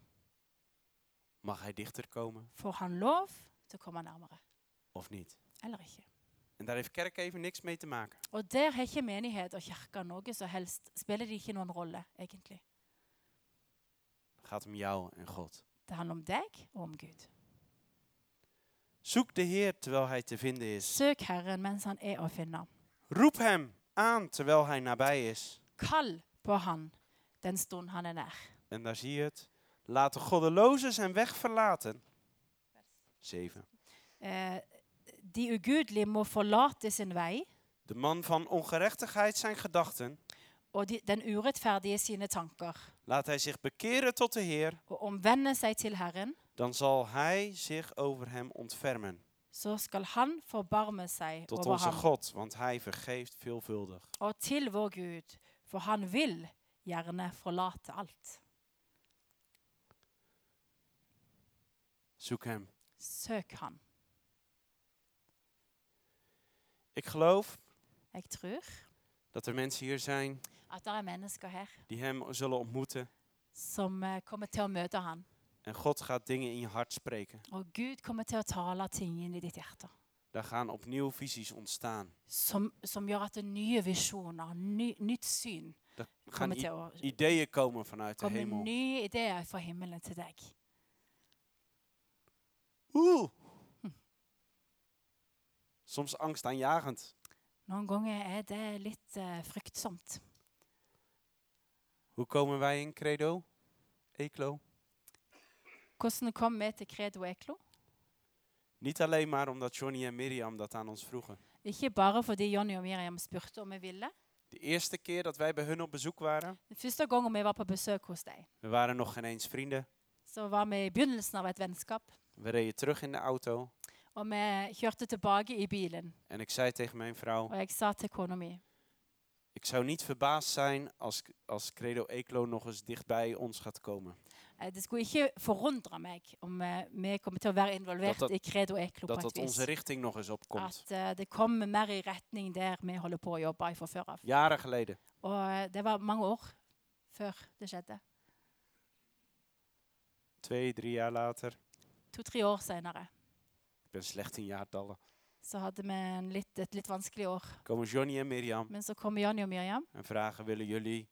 [SPEAKER 1] Mag hij dichter komen
[SPEAKER 2] Får han lov til å komme nærmere
[SPEAKER 1] of niet?
[SPEAKER 2] eller ikke?
[SPEAKER 1] En daar heeft kerk even niks mee te maken.
[SPEAKER 2] Og der har ikke menighet og kirke noe som helst. Spiller de ikke noen rolle, egentlig.
[SPEAKER 1] Het gaat om jou en God.
[SPEAKER 2] Det handler om deg og om Gud.
[SPEAKER 1] Zoek de Heer terwijl hij te vinden is.
[SPEAKER 2] Søk Herren mens han er å finne.
[SPEAKER 1] Roep hem aan terwijl hij nabij is.
[SPEAKER 2] Kall på han den stund han er nær.
[SPEAKER 1] En daar zie je het. Laat de goddelozen zijn weg verlaten. Zeven.
[SPEAKER 2] Eh, de ugudelige må forlate sin vei,
[SPEAKER 1] De man van ongerechtigheid zijn gedachten.
[SPEAKER 2] og de, den urettferdige sine tanker,
[SPEAKER 1] Laat hij zich bekeren tot de Heer.
[SPEAKER 2] og omvende seg til Herren,
[SPEAKER 1] Dan zal hij zich over hem ontfermen.
[SPEAKER 2] så skal han forbarme seg
[SPEAKER 1] Tot
[SPEAKER 2] over
[SPEAKER 1] onze
[SPEAKER 2] ham,
[SPEAKER 1] God, want hij vergeeft veelvuldig.
[SPEAKER 2] og til vår Gud, for han vil gjerne forlate alt.
[SPEAKER 1] Zoek hem.
[SPEAKER 2] Søk han.
[SPEAKER 1] Ik geloof
[SPEAKER 2] Jeg tror
[SPEAKER 1] dat er mensen hier zijn
[SPEAKER 2] at det er mennesker her
[SPEAKER 1] die hem zullen ontmoeten.
[SPEAKER 2] som eh, kommer til å møte han,
[SPEAKER 1] En God gaat dingen in je hart spreken.
[SPEAKER 2] og Gud kommer til å tale ting inn i ditt hjerte,
[SPEAKER 1] Daar gaan opnieuw visies ontstaan.
[SPEAKER 2] som, som gjør at det er nye visjoner, ny, nytt syn,
[SPEAKER 1] Er gaan
[SPEAKER 2] kommer
[SPEAKER 1] i-
[SPEAKER 2] til å
[SPEAKER 1] ideeën komen vanuit de
[SPEAKER 2] komme
[SPEAKER 1] hemel.
[SPEAKER 2] nye ideer fra himmelen til deg.
[SPEAKER 1] Oeh! Soms angstaanjagend.
[SPEAKER 2] Noen ganger er det litt eh, fryktsomt.
[SPEAKER 1] Hoe komen wij in credo? Eclo?
[SPEAKER 2] Hvordan kom vi til Credo Eklo?
[SPEAKER 1] Niet alleen maar omdat Johnny en Miriam dat aan ons vroegen.
[SPEAKER 2] Ikke bare fordi Jonny og Miriam spurte om vi ville.
[SPEAKER 1] De eerste keer dat wij bij hun op bezoek waren,
[SPEAKER 2] Den første gangen vi var på besøk hos deg,
[SPEAKER 1] we waren nog geen eens vrienden.
[SPEAKER 2] så var vi i begynnelsen av et vennskap.
[SPEAKER 1] We reden terug in de auto
[SPEAKER 2] Og vi kjørte tilbake i bilen,
[SPEAKER 1] en ik zei tegen mijn vrouw,
[SPEAKER 2] og jeg sa til kona mi
[SPEAKER 1] ik zou niet verbaasd zijn als, als credo Eclo nog eens dichtbij ons gaat komen.
[SPEAKER 2] Eh, Det skulle ikke forundre meg om eh, vi kommer til å være involvert
[SPEAKER 1] Dat dat-
[SPEAKER 2] i Credo Eklo på
[SPEAKER 1] Dat
[SPEAKER 2] et
[SPEAKER 1] dat
[SPEAKER 2] vis.
[SPEAKER 1] onze richting nog eens opkomt.
[SPEAKER 2] At eh, det kommer mer i retning der vi holder på å jobbe fra før av.
[SPEAKER 1] Jaren geleden.
[SPEAKER 2] Og eh, det var mange år før det skjedde.
[SPEAKER 1] Twee, drie jaar later.
[SPEAKER 2] To-tre år senere
[SPEAKER 1] Ik ben slecht in jaartallen.
[SPEAKER 2] så hadde vi en litt, et litt vanskelig år.
[SPEAKER 1] Komen Johnny en Mirjam
[SPEAKER 2] Men så kommer Janni og Miriam,
[SPEAKER 1] en vragen: willen jullie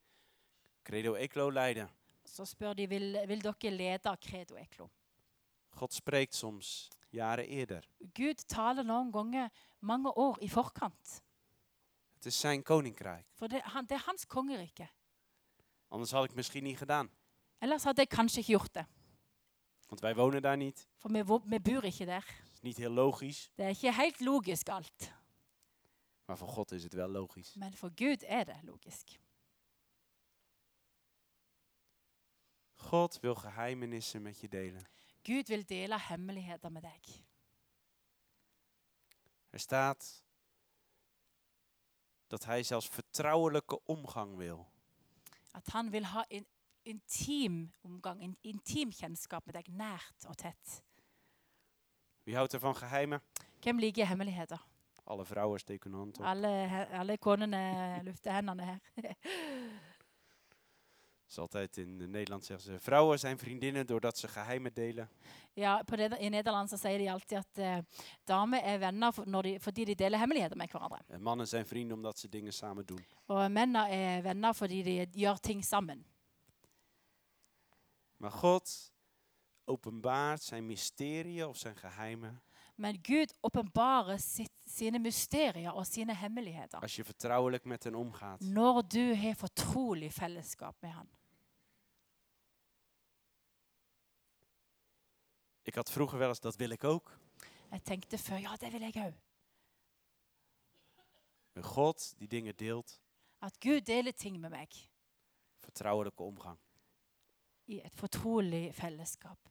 [SPEAKER 1] Credo Eclo leiden?
[SPEAKER 2] så spør de vil, vil dere lede Credo Eklo.
[SPEAKER 1] God spreekt soms jaren eerder.
[SPEAKER 2] Gud taler noen ganger mange år i forkant.
[SPEAKER 1] Het is zijn koninkrijk.
[SPEAKER 2] For det, han, det er hans kongerike.
[SPEAKER 1] Anders had ik het misschien niet gedaan.
[SPEAKER 2] Ellers hadde jeg kanskje ikke gjort det.
[SPEAKER 1] Want wij wonen daar niet.
[SPEAKER 2] For vi, wo- vi bor ikke der.
[SPEAKER 1] Het is niet heel logisch.
[SPEAKER 2] Det er ikke helt logisk alt.
[SPEAKER 1] Maar voor God is het wel logisch.
[SPEAKER 2] Men for Gud er det logisk.
[SPEAKER 1] God wil geheimenissen met je delen.
[SPEAKER 2] Gud vil dele hemmeligheter med deg.
[SPEAKER 1] Er staat dat hij zelfs vertrouwelijke omgang wil.
[SPEAKER 2] At han vil ha en intim omgang, en intim kjennskap med deg, nært og tett.
[SPEAKER 1] Wie houdt er van geheimen?
[SPEAKER 2] Hvem liker hemmeligheter?
[SPEAKER 1] Alle vrouwen steken hun hand op.
[SPEAKER 2] Alle, he- alle konene lufter hendene her.
[SPEAKER 1] is altijd in eh, Nederland zeggen ze: vrouwen zijn vriendinnen doordat ze geheimen delen.
[SPEAKER 2] Ja, på det, I Nederland så sier de alltid at eh, damer er venner for, når de, fordi de deler hemmeligheter med hverandre.
[SPEAKER 1] En mannen zijn vrienden omdat ze dingen samen doen.
[SPEAKER 2] Og mennene er venner fordi de gjør ting sammen.
[SPEAKER 1] Maar God openbaart zijn mysterieën of zijn geheimen
[SPEAKER 2] Men Gud åpenbarer sitt, sine mysterier og sine hemmeligheter
[SPEAKER 1] als je vertrouwelijk met hen omgaat.
[SPEAKER 2] når du har fortrolig fellesskap med han.
[SPEAKER 1] Ik had vroeger wel eens: dat wil ik ook.
[SPEAKER 2] Jeg tenkte før ja, det vil jeg òg.
[SPEAKER 1] Een God die dingen deelt,
[SPEAKER 2] At Gud deler ting med meg
[SPEAKER 1] vertrouwelijke omgang.
[SPEAKER 2] i et fortrolig fellesskap.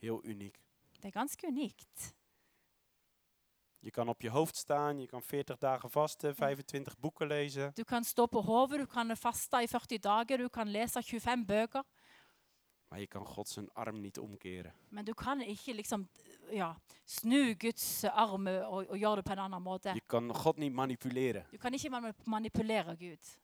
[SPEAKER 1] Heel uniek.
[SPEAKER 2] Det er ganske unikt.
[SPEAKER 1] Je kan op je hoofd staan, je kan 40 dagen vasten, 25 boeken lezen.
[SPEAKER 2] Du kan stå på hodet, du kan faste i 40 dager, du kan lese 25 bøker.
[SPEAKER 1] Maar je kan God zijn arm niet omkeren.
[SPEAKER 2] Men du kan ikke liksom ja, snu Guds arm og, og gjøre det på en annen måte.
[SPEAKER 1] Je kan God niet manipuleren.
[SPEAKER 2] Du kan ikke mani- manipulere Gud.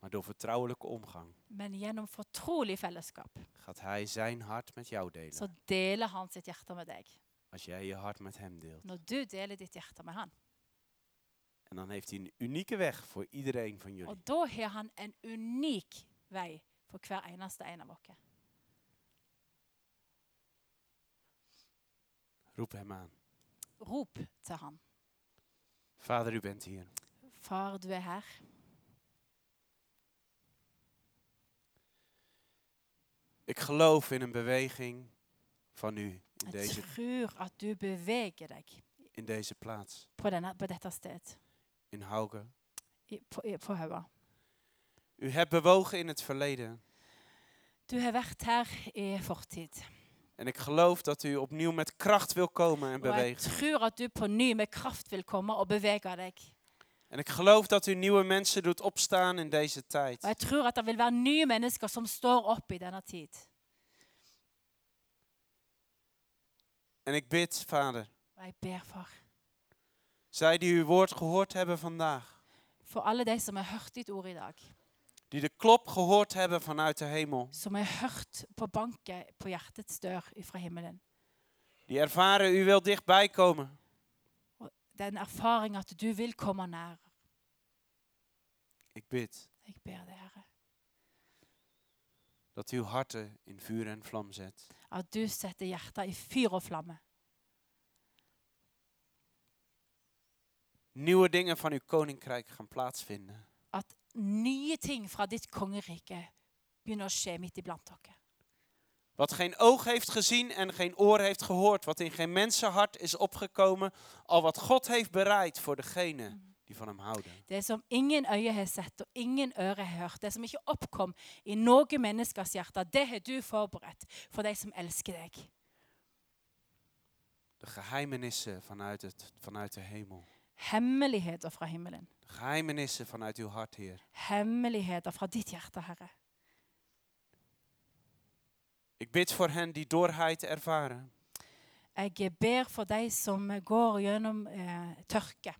[SPEAKER 1] Maar door vertrouwelijke omgang
[SPEAKER 2] Men gjennom fortrolig fellesskap
[SPEAKER 1] gaat Hij zijn hart met jou delen.
[SPEAKER 2] så deler han sitt hjerte med deg.
[SPEAKER 1] Als jij je hart met Hem deelt.
[SPEAKER 2] Når du deler ditt hjerte med han.
[SPEAKER 1] En dan heeft Hij een unieke weg voor iedereen van
[SPEAKER 2] Og
[SPEAKER 1] jullie.
[SPEAKER 2] da har han en unik vei for hver eneste en av oss.
[SPEAKER 1] Roep Hem aan.
[SPEAKER 2] Rop til han.
[SPEAKER 1] Vader, U bent hier.
[SPEAKER 2] Far, du er her.
[SPEAKER 1] Ik geloof in een beweging van U in
[SPEAKER 2] Jeg
[SPEAKER 1] deze,
[SPEAKER 2] tror at du beveger deg
[SPEAKER 1] in deze plaats.
[SPEAKER 2] på, denne, på dette sted,
[SPEAKER 1] In Haugen.
[SPEAKER 2] i, på, i, på Haua.
[SPEAKER 1] U hebt bewogen in het verleden.
[SPEAKER 2] Du har vært her i fortid.
[SPEAKER 1] En ik geloof dat u opnieuw met kracht wil komen en
[SPEAKER 2] Og jeg
[SPEAKER 1] bewegen.
[SPEAKER 2] tror at du på ny med kraft vil komme og bevege deg.
[SPEAKER 1] En ik geloof dat u nieuwe mensen doet opstaan in deze
[SPEAKER 2] Og jeg
[SPEAKER 1] tijd.
[SPEAKER 2] tror at det vil være nye mennesker som står opp i denne tid.
[SPEAKER 1] En ik bid, Vader,
[SPEAKER 2] Og jeg ber for,
[SPEAKER 1] zij die uw woord gehoord hebben vandaag,
[SPEAKER 2] for alle de som har hørt ditt ord i dag,
[SPEAKER 1] die de klop gehoord hebben vanuit de hemel,
[SPEAKER 2] som har hørt på banket på hjertets dør fra himmelen.
[SPEAKER 1] die ervaren u wil dichtbij komen.
[SPEAKER 2] Den erfaring at du vil komme nær.
[SPEAKER 1] Ik bid
[SPEAKER 2] Jeg ber deg, Herre,
[SPEAKER 1] dat uw harten in vuur en vlam zet.
[SPEAKER 2] at du setter hjertet i fyr og flamme.
[SPEAKER 1] Nieuwe dingen van uw koninkrijk gaan plaatsvinden.
[SPEAKER 2] At nye ting fra ditt kongerike begynner å skje midt iblant dere.
[SPEAKER 1] Wat geen oog heeft gezien en geen oor heeft gehoord, wat in geen mensenhart is opgekomen, al wat God heeft bereid voor degenen die van hem houden.
[SPEAKER 2] Det som ingen øye har sett og ingen øre har hørt, det som ikke oppkom i noe menneskers hjerte, det har du forberedt for de som elsker deg.
[SPEAKER 1] De geheimenissen vanuit, het, vanuit de hemel.
[SPEAKER 2] Hemmeligheter fra himmelen.
[SPEAKER 1] De geheimenissen vanuit uw hart, Heer.
[SPEAKER 2] Hemmeligheter fra ditt hjerte, Herre.
[SPEAKER 1] Ik bid voor hen die dorheid ervaren.
[SPEAKER 2] Jeg ber for de som går gjennom eh, tørke,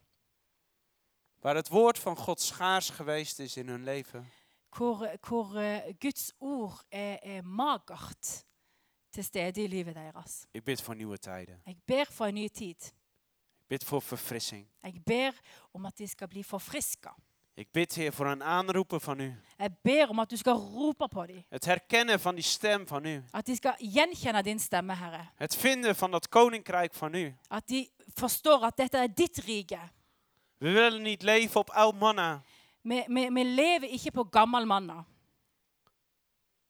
[SPEAKER 1] Waar het woord van God schaars geweest is in hun leven.
[SPEAKER 2] hvor, hvor eh, Guds ord er, er magert til stede i livet deres.
[SPEAKER 1] Ik bid voor nieuwe tijden.
[SPEAKER 2] Jeg ber for en ny tid.
[SPEAKER 1] Ik bid voor verfrissing.
[SPEAKER 2] Jeg ber om at de skal bli forfriska.
[SPEAKER 1] Ik bid, Heer, voor een aanroepen van u.
[SPEAKER 2] Jeg ber om at du skal rope på dem.
[SPEAKER 1] Het herkennen van die stem van u.
[SPEAKER 2] At de skal gjenkjenne din stemme, Herre.
[SPEAKER 1] Het vinden van dat koninkrijk van u.
[SPEAKER 2] At de forstår at dette er ditt rike.
[SPEAKER 1] We willen niet leven op oud manna,
[SPEAKER 2] Vi, vi, vi lever ikke på gammel manna,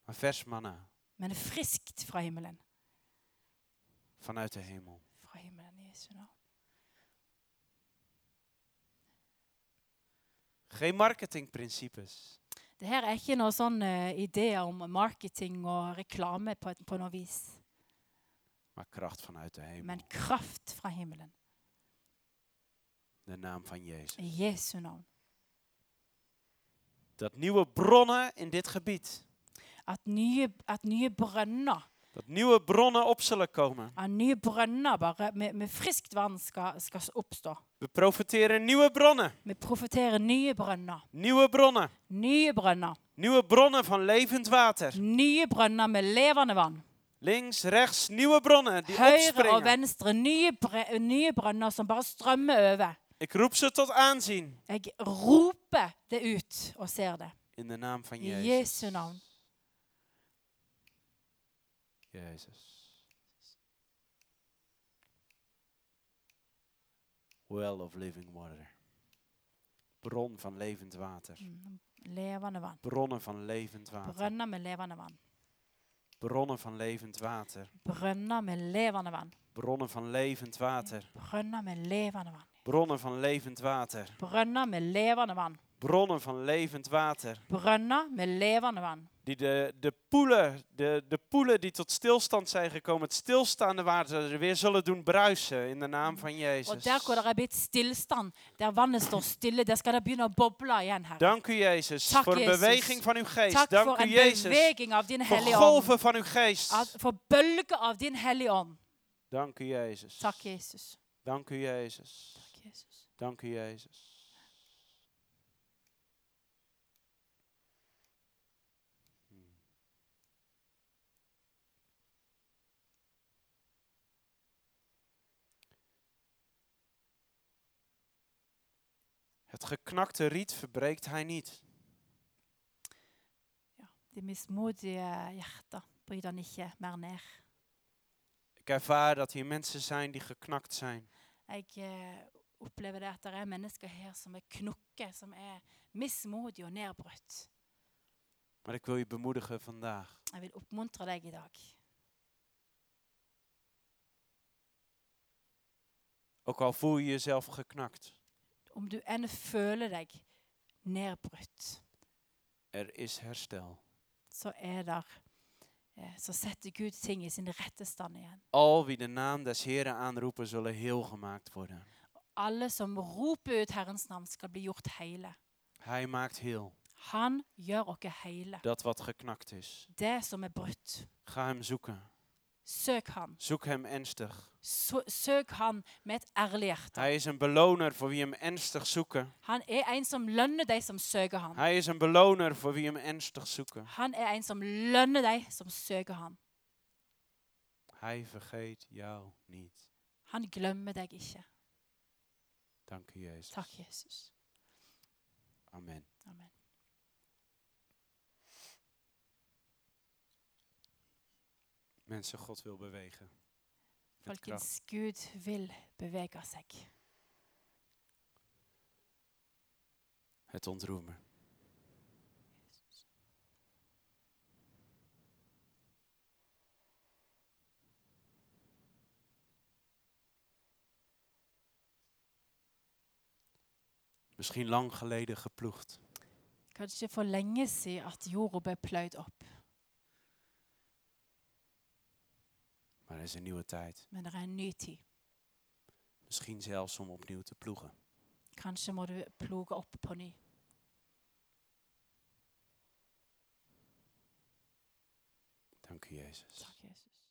[SPEAKER 1] maar vers manna
[SPEAKER 2] men friskt fra himmelen.
[SPEAKER 1] vanuit de hemel.
[SPEAKER 2] Fra himmelen i Jesu navn.
[SPEAKER 1] Geen marketingprincipes,
[SPEAKER 2] Det her er ikke noen sånn eh, ideer om marketing og reklame på, på noe vis,
[SPEAKER 1] maar kracht vanuit de hemel.
[SPEAKER 2] men kraft fra himmelen.
[SPEAKER 1] De naam van Jezus.
[SPEAKER 2] I Jesu navn.
[SPEAKER 1] Dat nieuwe bronnen in dit gebied,
[SPEAKER 2] At nye, at nye brønner
[SPEAKER 1] dat nieuwe bronnen op zullen komen.
[SPEAKER 2] at nye brønner bare med, med friskt vann skal, skal oppstå.
[SPEAKER 1] We profiteren nieuwe bronnen,
[SPEAKER 2] Vi profeterer nye brønner.
[SPEAKER 1] nieuwe bronnen,
[SPEAKER 2] Nye brønner.
[SPEAKER 1] nieuwe bronnen van levend water.
[SPEAKER 2] Nye brønner med levende vann.
[SPEAKER 1] Links, rechts, nieuwe bronnen die
[SPEAKER 2] Høyre og
[SPEAKER 1] opspringen.
[SPEAKER 2] venstre. Nye, bre- nye brønner som bare strømmer over.
[SPEAKER 1] Ik roep ze tot aanzien
[SPEAKER 2] Jeg roper det ut og ser det.
[SPEAKER 1] in de naam van
[SPEAKER 2] I
[SPEAKER 1] Jezus.
[SPEAKER 2] Jesu navn.
[SPEAKER 1] Jezus. Well of living water. Bron van levend water.
[SPEAKER 2] Mm, Levende vann.
[SPEAKER 1] Bronnen van levend water.
[SPEAKER 2] Brønner med levende vann.
[SPEAKER 1] Bronnen van levend water.
[SPEAKER 2] Brønner med levende vann.
[SPEAKER 1] Bronnen van levend water.
[SPEAKER 2] Brønner med levende vann.
[SPEAKER 1] Bronnen van levend water.
[SPEAKER 2] Brønner med levende vann.
[SPEAKER 1] Bronnen van levend water.
[SPEAKER 2] Brønner med levende vann.
[SPEAKER 1] Die de, de, poelen, de, de poelen die tot stilstand zijn gekomen, het stilstaande water, er weer zullen doen bruisen in de naam van
[SPEAKER 2] Og der
[SPEAKER 1] Jezus.
[SPEAKER 2] hvor det er blitt stillstand, der vannet står stille, der skal det begynne å boble igjen, Herre.
[SPEAKER 1] Dank u Jezus
[SPEAKER 2] Tak,
[SPEAKER 1] voor een
[SPEAKER 2] Jezus.
[SPEAKER 1] beweging van uw geest.
[SPEAKER 2] Takk
[SPEAKER 1] Dank
[SPEAKER 2] for
[SPEAKER 1] u
[SPEAKER 2] en
[SPEAKER 1] Jezus
[SPEAKER 2] beveging av din
[SPEAKER 1] voor
[SPEAKER 2] hellige ånd.
[SPEAKER 1] golven van uw geest.
[SPEAKER 2] At- For bølger av din hellige ånd.
[SPEAKER 1] Dank u Jezus.
[SPEAKER 2] Takk, Jesus.
[SPEAKER 1] Dank u Jezus.
[SPEAKER 2] Takk, Jesus.
[SPEAKER 1] Dank u Jezus. Hmm. Het geknakte riet verbreekt hij niet.
[SPEAKER 2] De mismodige hjerter bryr han ikke mer ned.
[SPEAKER 1] Ik ervaar dat hier mensen zijn die geknakt zijn.
[SPEAKER 2] Jeg eh, opplever det at det er mennesker her som er knokke, som er mismodige og nedbrutt.
[SPEAKER 1] Maar ik wil je bemoedigen vandaag.
[SPEAKER 2] Jeg vil oppmuntre deg i dag.
[SPEAKER 1] Ook al voel je jezelf geknakt,
[SPEAKER 2] Om du enn føler deg nedbrutt,
[SPEAKER 1] er is herstel.
[SPEAKER 2] så er der eh, Så setter Gud ting i sin rette stand igjen.
[SPEAKER 1] Al wie de naam des Heren aanroepen, zullen heel gemaakt worden.
[SPEAKER 2] Alle som roper ut Herrens navn, skal bli gjort hele.
[SPEAKER 1] Hij maakt heel
[SPEAKER 2] Han gjør oss hele.
[SPEAKER 1] dat wat geknakt is.
[SPEAKER 2] Det som er brutt.
[SPEAKER 1] Ga hem zoeken.
[SPEAKER 2] Søk han.
[SPEAKER 1] Zoek hem ernstig.
[SPEAKER 2] Så, søk han med et ærlig hjerte.
[SPEAKER 1] Hij is een beloner voor wie hem ernstig zoeken.
[SPEAKER 2] Han er en som lønner de som søker han.
[SPEAKER 1] Hij is een beloner voor wie hem ernstig zoeken.
[SPEAKER 2] Han er en som lønner de som søker han.
[SPEAKER 1] Hij vergeet jou niet.
[SPEAKER 2] Han glemmer deg ikke.
[SPEAKER 1] Dank u, Jezus.
[SPEAKER 2] Takk, Jesus.
[SPEAKER 1] Amen.
[SPEAKER 2] Amen.
[SPEAKER 1] Mensen, God wil bewegen. Met kracht.
[SPEAKER 2] Folkens, Gud vil bevege seg.
[SPEAKER 1] Het ontroemen. Misschien lang geleden geploegd.
[SPEAKER 2] Kanskje for lenge siden at jorda ble pløyd opp,
[SPEAKER 1] Maar er is een nieuwe tijd.
[SPEAKER 2] men det er en ny tid.
[SPEAKER 1] Misschien zelfs om opnieuw te ploegen.
[SPEAKER 2] Kanskje må du ploge opp på ny.
[SPEAKER 1] Dank Dank u, Jezus.
[SPEAKER 2] Takk, Jesus.